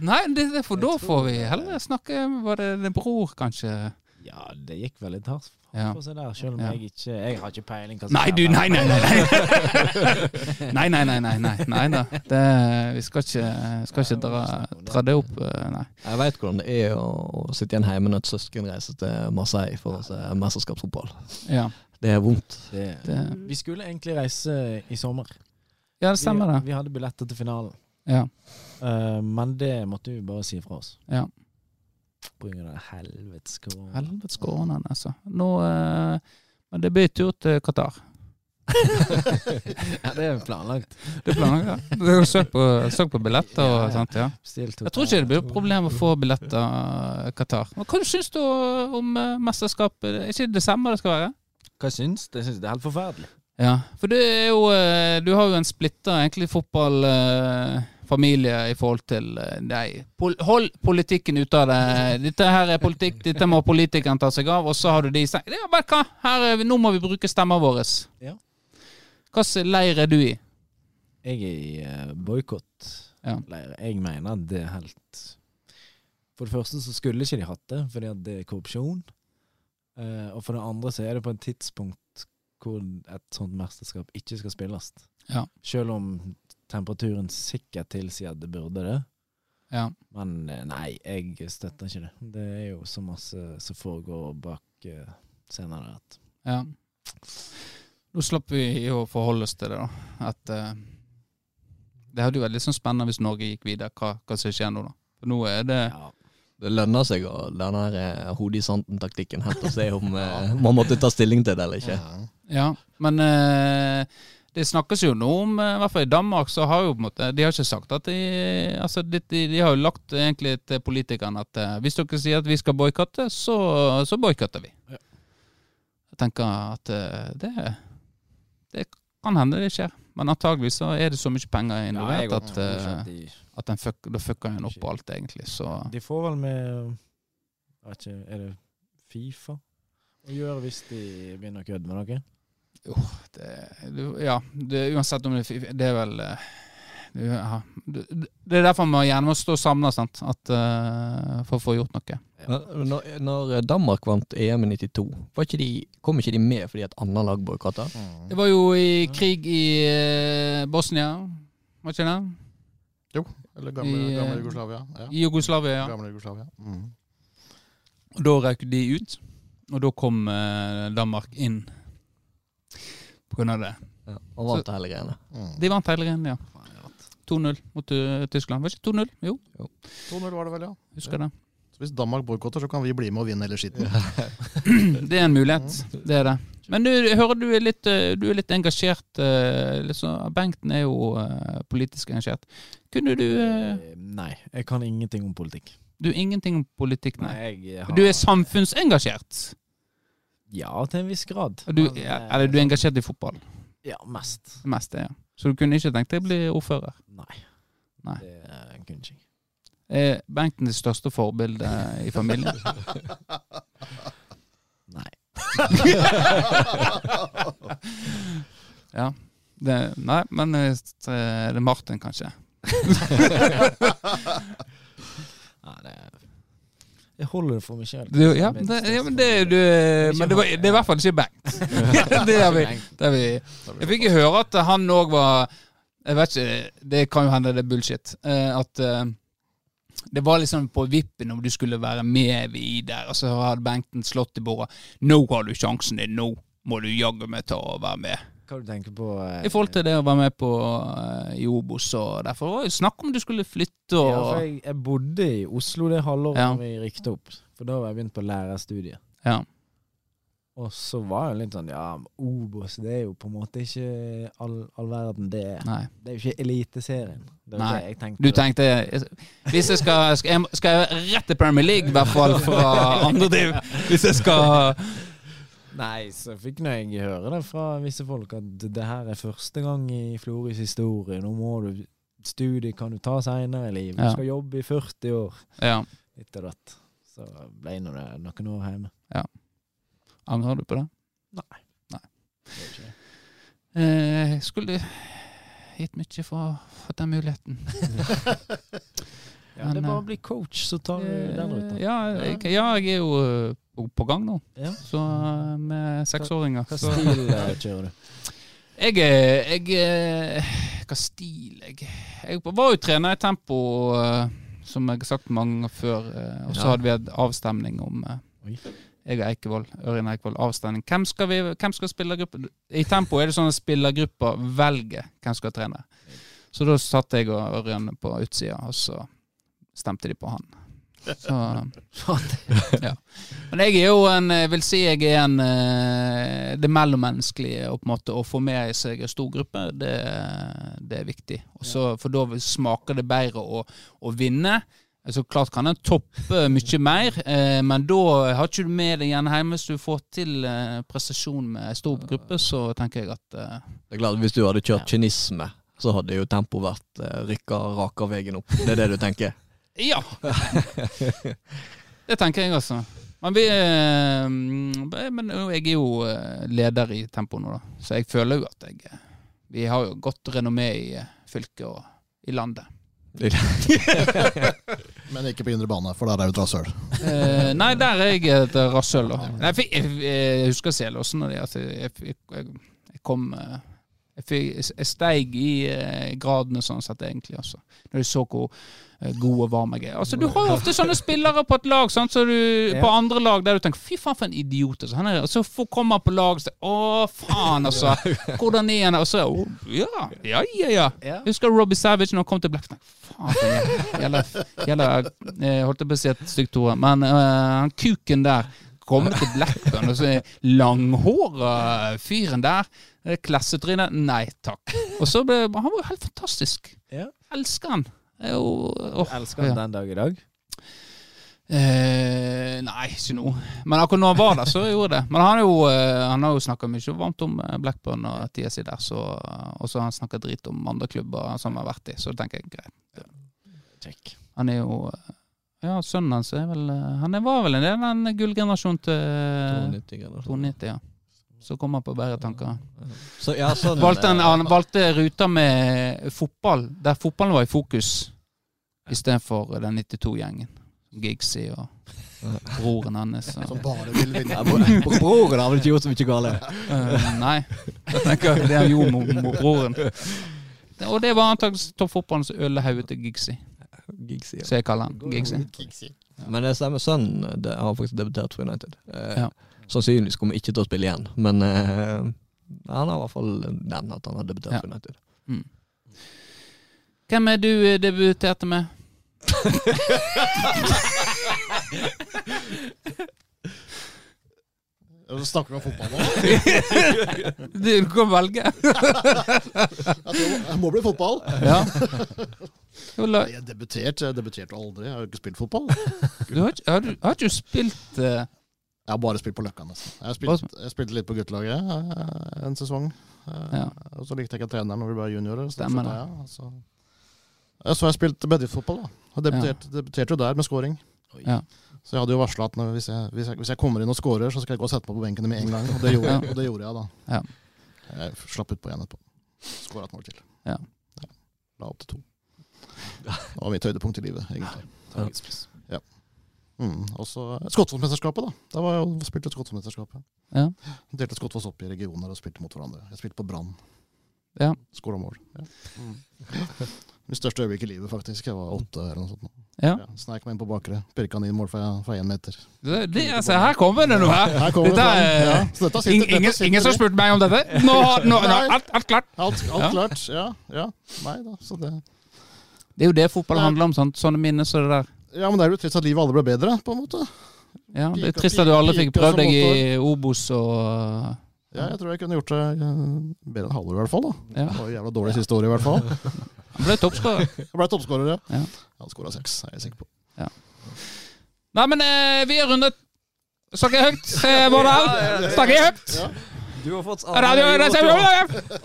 Nei, det, det, for
Jeg
da
tror
får vi
det-
heller snakke Var det din bror, kanskje?
Ja, det gikk veldig hardt
Ja.
for seg der, selv om
Ja.
jeg ikke Jeg har ikke peiling. hva som
Nei,
skjer
du,
der.
nei, nei, nei.
[LAUGHS]
Nei, nei, nei, nei, nei, nei, nei da. Det, vi skal ikke, skal ikke dra, dra det opp, eh, nei.
Jeg vet hvordan det er å, å sitte igjen hjemme når et søsken reiser til Marseille for å se mesterskapsfotball.
Ja,
Det er vondt.
Det,
det,
vi skulle egentlig reise i sommer.
ja, det stemmer,
vi,
det.
Vi hadde billetter til finalen.
Ja.
Eh, men det måtte vi bare si fra oss.
Ja.
På grunn av det helvetes korona.
Helvetes koronaen, altså. Nå eh, Men det blir tur til Qatar.
[LAUGHS] ja, det er planlagt.
Det planlegger jeg. Du har søkt på, søkt på billetter og sånt, ja.
Bestilt
Jeg tror ikke det blir et problem å få billetter eh, Qatar. Men hva syns du om eh, mesterskapet? Er ikke det desember det skal være?
Hva syns du? Jeg syns det er helt forferdelig.
Ja, for det er jo eh, Du har jo en splitta egentlig fotballfamilie i forhold til eh, Nei, pol hold politikken ute av det. Dette her er politikk, dette må politikeren ta seg av. Og så har du de som sier Ja, vet du hva, her er vi, nå må vi bruke stemmen vår.
Ja.
Hvilken leir er du i?
Jeg er i eh, boikott.
Ja.
Jeg mener at det er helt For det første så skulle ikke de hatt det, fordi at det er korrupsjon. Eh, og for det andre så er det på et tidspunkt hvor et sånt mesterskap ikke skal spilles.
Ja.
Selv om temperaturen sikkert tilsier at det burde det.
Ja.
Men eh, nei, jeg støtter ikke det. Det er jo så masse som foregår bak eh, scenen der at
Ja. Nå slapp vi å forholde oss til det, da. At eh, Det hadde jo vært litt sånn spennende hvis Norge gikk videre. Hva, hva som skjer nå, da? For nå er det
ja,
Det lønner seg å la den eh, her hodet i sanden-taktikken helt og se om eh, man måtte ta stilling til det eller ikke.
Ja.
Ja, men eh, det snakkes jo nå om eh, I hvert fall i Danmark så har jo på en måte De har ikke sagt at de Altså, de, de, de har jo lagt egentlig til politikerne at eh, hvis dere sier at vi skal boikotte, så, så boikotter vi.
Ja.
Jeg tenker at eh, det Det kan hende det skjer. Men antageligvis så er det så mye penger involvert
jeg
at,
tror ikke
eh,
at de
at den fuck, da fucker en opp alt, egentlig. Så
De får vel med jeg vet ikke, Er det Fifa å gjøre hvis de begynner å kødde med noe?
det, eh, du- Ja, det, uansett om det Det er vel eh, det, ja. det det er derfor man gjerne må stå samla, sant. At, eh, for å få gjort noe.
Men eh, Når, når Danmark vant EM i 92, var ikke de, kom ikke de med fordi et annet lag boikotta?
Det var jo i krig i eh, Bosnia, var ikke det?
Eller gamle,
I, eh,
gamle Jugoslavia. Ja.
I Jugoslavia, ja.
Gamle Jugoslavia. Mm.
Og Da røk de ut, og da kom eh, Danmark inn. På grunn av det.
Ja, og vant hele greiene.
Mm.
De vant hele greia, ja. 2-0 mot eh, Tyskland. Var ikke 2-0? Jo,
2-0 var det vel, ja.
husker det.
Så hvis Danmark boikotter, så kan vi bli med og vinne hele skitten.
[CLEARS THROAT] Det er en mulighet. Det er det. Men du, jeg hører du er litt, eh, du er litt engasjert. eh, litt sånn- Bengten er jo eh, politisk engasjert. Kunne du eh,
Eh, Nei, jeg kan ingenting om politikk.
Du er ingenting om politikk, nei.
jeg
Du er samfunnsengasjert.
Ja, til en viss grad.
Og Du,
Men,
ja,
eh,
eller du er engasjert i fotball.
Ja, mest.
Det meste, ja. Så du kunne ikke tenkt deg å bli ordfører?
Nei.
Nei.
Det eh, kunne ikke jeg.
Er Bengten det største forbildet i familien? [LAUGHS]
Nei.
Ja. Det, nei, men eh, det er Martin, kanskje.
Nei, det er Jeg holder det for meg sjøl.
Du, ja, det, ja, men det, er du, eh, men det, var, det er i hvert fall ikke [LAUGHS] Bengt. Det har vi. Det har vi Jeg fikk jo høre at han òg var Jeg vet ikke, det kan jo hende det er bullshit. eh, At eh, det var liksom på vippen om du skulle være med videre, og så hadde Bengten slått i bordet. 'Nå har du sjansen din, nå må du jaggu meg ta og være med'.
Hva du tenker på eh,
I forhold til det å være med på eh, i Obos, og derfor var det jo snakk om du skulle flytte og
ja, for jeg, jeg bodde i Oslo det halvåret
Ja.
da vi rykte opp. For da var jeg begynt på lærerstudiet.
Ja.
Og så var jeg litt sånn Ja, Obos det er jo på en måte ikke all, all verden det er.
Nei.
Det er jo ikke Eliteserien. Det var
Nei.
det jeg tenkte.
Du tenkte Hvis jeg skal Skal jeg, skal jeg rett til Premier League, i hvert fall fra andre div? Hvis jeg skal
[LAUGHS] Nei, så fikk nå jeg høre det fra visse folk at det her er første gang i Floris historie. Nå må du Studie kan du ta seinere i livet.
Ja.
Du skal jobbe i 40 år.
Ja.
Litt av datt. Så ble nå det noen år hjemme.
Angrer du på det?
Nei.
Nei.
Det er ikke det.
Eh, jeg skulle gitt mye for å få den muligheten.
Ja, det
Men,
er bare
eh,
å bli coach, så tar du den ruta.
Eh, ja, jeg, ja, jeg er jo eh, på- på gang nå,
Ja.
så eh, med seksåringer.
Hva
Så
stil eh, kjører du?
jeg er jeg, er- Hva stil jeg Jeg var jo trener i Tempo, eh, som jeg har sagt mange ganger før, eh, og så
Ja.
hadde vi en avstemning om eh,
Oi.
jeg og Eikevold, Ørjen Eikevold, avstemning. Hvem skal, vi, hvem skal spillergruppe I Tempo er det sånn at spillergrupper velger hvem som skal trene. Så da satt jeg og Ørjan på utsida, og så stemte de på han. Så, ja. Men jeg er jo en Jeg vil si jeg er en eh, Det mellommenneskelige og på en måte å få med seg en stor gruppe, det, det er viktig. Og så- for da smaker det bedre å, å vinne. Så klart kan en toppe mye mer, eh, men da har ikke du med deg igjen hjemme. Hvis du får til eh, prestasjon med en stor gruppe, så tenker jeg at eh,
Det er klart, Hvis du hadde kjørt kynisme, så hadde jo tempoet vært eh, rykka raka veien opp. Det er det du
[LAUGHS]
tenker?
Ja. det tenker jeg, altså. Men, vi, eh, men jeg er jo eh, leder i Tempo nå, da. Så jeg føler jo at jeg eh, Vi har jo godt renommé i eh, fylket og i landet.
Men ikke på indre bane, for der er jo et rasshøl.
Eh, nei, der er jeg et rasshøl, da. Nei, Jeg, fikk- jeg, jeg husker Selåsen og det at jeg, jeg, jeg, jeg kom eh, jeg, fikk- jeg steig i eh, gradene sånn sett, egentlig, altså. Når jeg så hvor eh, god og varm jeg er. Altså, du har jo ofte sånne spillere på et lag, sant, så du,
Ja.
på andre lag der du tenker 'fy faen, for en idiot'. Altså, han er, og så får- kommer han på lag og sier 'å, faen', altså. Hvordan er han? Og så «Å, ja, ja, ja, ja.
Ja.
Jeg husker Robbie Savage når han kom til Black Snake. Faen, for en jævla, jævla eh, Holdt jeg på å si et stygt ord, men eh, han kuken der Kommer til Blackburn, og så er langhåra fyren der eh, Klassetryne. Nei takk. Og så ble Han var jo helt fantastisk.
Ja.
Elsker han. Eh, Jeg er jo- åh,
Elsker han
ja.
den dag i dag?
Eh, nei, ikke nå. Men akkurat når han var der, så gjorde det. Men han, er jo, eh, han har jo snakka mye varmt om eh, Blackburn og tida si der, så, og så har han snakka drit om andre klubber som han har vært i, så det tenker jeg greit.
Check.
Han er jo eh, Ja, sønnen hans er vel eh, Han er- var vel en del av den gullgenerasjonen til
290.
290, ja. Så kom han på bedre tanker.
Så, ja, sånn,
[LAUGHS] Valgte han,
eh,
han valgte ruta med fotball, der fotballen var i fokus, istedenfor den 92-gjengen. Gigsy og broren hans. Og,
Som bare vil vinne.
ja, bro- bro- Broren hadde ikke gjort så mye [LAUGHS] galt.
Eh, nei, jeg tenker det han gjorde mot mot broren. Og det var antakeligvis toppfotballens ølehaue til Gigsy,
Gigs, ja.
som jeg kaller han. Gigsy.
Men det stemmer, sønnen det har faktisk debutert for United. Eh,
Ja.
Sannsynligvis kommer ikke til å spille igjen, men eh, han har i hvert fall nevnt at han har debutert
Ja.
for United.
Hvem er du eh, debuterte med?
Snakker vi om fotball
[LAUGHS]
nå?
Du kan velge.
Jeg tror det må bli fotball.
Ja. Jo, la-
Jeg debuterte jeg debuterte aldri. Jeg har jo ikke spilt fotball.
Du har ikke, har du, har ikke du spilt eh,
Jeg har bare spilt på Løkka, nesten. Jeg spilte, jeg spilte litt på guttelaget eh, en sesong. Eh,
Ja.
Og så likte jeg ikke treneren når vi ble juniorer. Så,
Stemmer det.
sluttet jeg, og så. Eh, så har jeg spilt bedriftsfotball, da. Og debuterte, debuterte jo der med scoring.
Ja.
Så jeg hadde jo varsla at når, hvis, jeg, hvis, jeg, hvis jeg kommer inn og scorer, så skal jeg gå og sette meg på benken med en gang. Og det gjorde, jeg-
Ja.
og det gjorde jeg da.
Ja.
Jeg slapp utpå igjen etterpå. Skåra et mål til.
Ja.
La opp til to. Det var mitt høydepunkt i livet, egentlig. Mm. Og så Skotskotmesterskapet, da. Da var jeg og spilte Skotskotmesterskapet.
Ja.
Delte Skotskott opp i regioner og spilte mot hverandre. Jeg spilte på Brann.
Ja.
Skåra mål. Ja. [LAUGHS] Mitt største øyeblikk i livet, faktisk. Jeg var åtte eller noe sånt. nå.
Ja.
Ja. Sneik meg inn på bakre. Pirka han inn mål fra fra én meter.
det, det, altså, Her kommer [LAUGHS] det noe her!
Her kommer det
Dette
fram.
er-
Ja. Så dette sitter,
Ing-
dette
ingen,
sitter
ingen som
i.
spurte meg om dette. Nå har nå, nå,
Nei.
alt, alt klart.
Alt, alt
Ja.
klart. Ja, ja. Nei da. Så det.
Det er jo det fotball
Ja.
handler om. Sant? Sånne minner som det der.
ja, men det er jo trist at livet aldri ble bedre, på en måte.
Ja, det er
Pika-
trist at du aldri fikk
pika
prøvd
som
deg i Obos og
Ja, jeg tror jeg kunne gjort det eh, bedre enn halvår, i hvert fall. da.
Ja.
Det var jævla dårlig siste året, i hvert fall.
Han ble
[LAUGHS]
toppskårer.
Jeg ble toppskårer, ja.
Ja.
Jeg hadde skåra seks, er jeg sikker på.
Nei, men eh, vi er rundet. Snakker jeg høyt, eh, Vårdal? Snakker jeg høyt?
Du har fått
Radio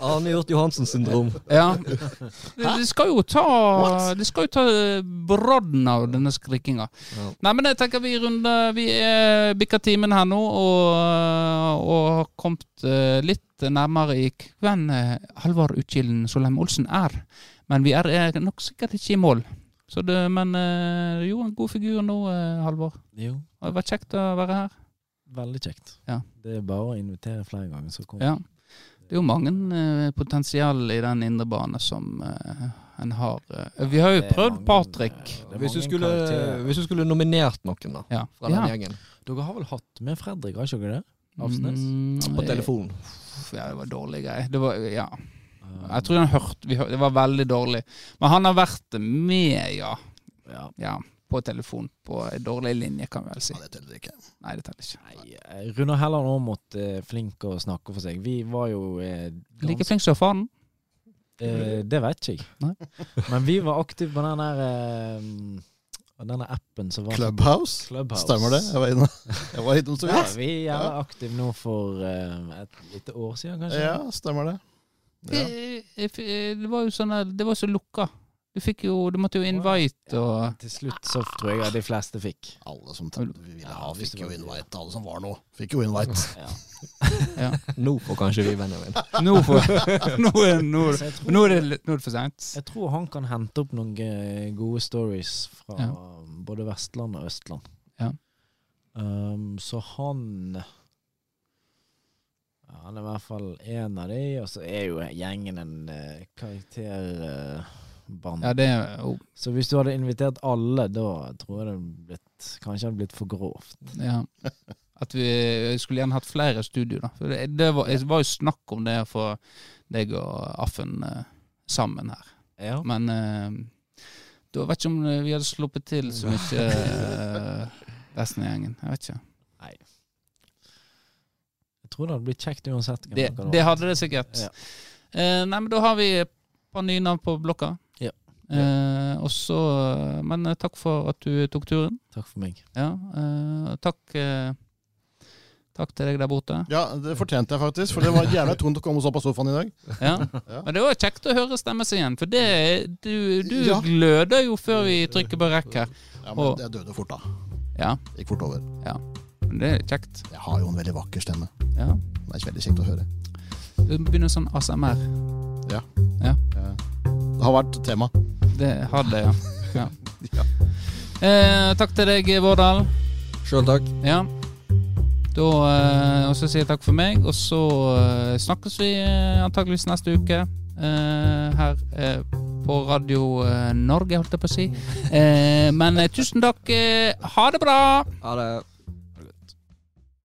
Arne Hjort Johansens syndrom.
[LAUGHS]
Ja. Det, det skal jo ta Det skal jo ta eh, brodden av denne skrikinga.
Ja.
Nei, men jeg tenker vi runder Vi er bikka timen her nå og, eh, og har kommet eh, litt nærmere i hvem eh, Halvard Utkilden Solheim Olsen er. Men vi er eh, nok sikkert ikke i mål. Så det, men eh, du gjorde en god figur nå, eh, Halvor.
Jo,
Det har vært kjekt å være her.
veldig kjekt.
Ja.
Det er bare å invitere flere ganger, så kommer
Ja. Det er jo mange eh, potensial i den indre bane som eh, en har. eh. Vi har jo
Det er
prøvd
mange- eh,
Patrick.
det er
Hvis du,
mange
skulle,
karakterer.
hvis du skulle nominert noen da
Ja.
fra den
ja.
gjengen
Dere har vel hatt med Fredrik, har ikke dere det? Avsnes?
Mm,
på telefonen
Ja, det var dårlig greie. Det var, ja. Jeg tror han hørte, vi hør- Det var veldig dårlig. Men han har vært med, ja.
Ja.
ja på telefon. På en dårlig linje, kan vi vel si.
Ja, det teller ikke.
Nei, det teller ikke.
Nei, eh, Runar Helland Aamodt er eh, flink å snakke for seg. Vi var jo eh,
Like
ganske-
flink som faren.
Eh, det vet ikke jeg.
Nei.
[LAUGHS] Men vi var aktive på den der eh, denne appen som var
Clubhouse?
Clubhouse.
Stemmer det? Jeg var inne
[LAUGHS]
Jeg var innom så
Ja,
vidt.
vi er jævla aktive nå for eh, et lite år siden, kanskje.
Ja, stemmer det. Ja.
Det, det var jo sånn der- Det var så lukka. Du fikk jo Du måtte jo invite og
Til slutt så tror jeg at de fleste fikk.
Alle som tenkte vi ville ha,
Ja, hvis
fikk
det
jo
var-
invite. Alle som var noe, fikk jo invite.
Ja.
Nå får kanskje vi Benjamin.
Nå, får- [LAUGHS] nå, er- nå, er-
Så jeg,
nå er
tror,
det litt- nå er det for seint.
jeg tror han kan hente opp noen eh, gode stories fra
Ja.
både Vestland og Østland.
Ja.
Um, så han ja, Han er i hvert fall en av de, og så er jo gjengen en eh, karakterband.
Ja, det er oh. jo
Så hvis du hadde invitert alle, da tror jeg det hadde blitt Kanskje hadde blitt for grovt.
ja. At vi skulle gjerne hatt flere studio, da. For det, det, var, det var jo snakk om det å få deg og Affen eh, sammen her.
Ja.
Men eh, da vet jeg ikke om eh, vi hadde sluppet til så mye eh, resten av gjengen. Jeg vet ikke.
Jeg tror det hadde blitt kjekt uansett. hvem
Det,
dere
det hadde det sikkert.
Ja.
Eh, nei, men da har vi et par nye navn på blokka.
Ja.
Eh, og så- men eh, takk for at du tok turen.
Takk for meg.
Ja, eh, og takk, eh, takk til deg der borte.
[LAUGHS] Ja, det fortjente jeg faktisk, for det var jævla tungt å komme oss opp av sofaen i dag.
Ja.
Ja.
Men det var kjekt å høre stemmen sin igjen, for det, du, du
Ja.
gløder jo før vi trykker på rekk her.
Ja, men
Og-
jeg døde fort, da.
Ja,
Gikk fort over.
men det er kjekt.
Jeg har jo en veldig vakker stemme.
Ja.
Det er veldig kjekt å høre.
Det begynner sånn ASMR.
Ja. Det har vært tema.
Det har
[LAUGHS]
det, ja. ja. Eh, takk til deg, Vårdal.
Sjøl takk.
Ja. Da eh, Og så sier jeg takk for meg, og så eh, snakkes vi eh, antakeligvis neste uke eh, her eh, på Radio eh, Norge, holdt jeg på å si. Eh, men eh, tusen takk. Eh, ha det bra!
Ha det.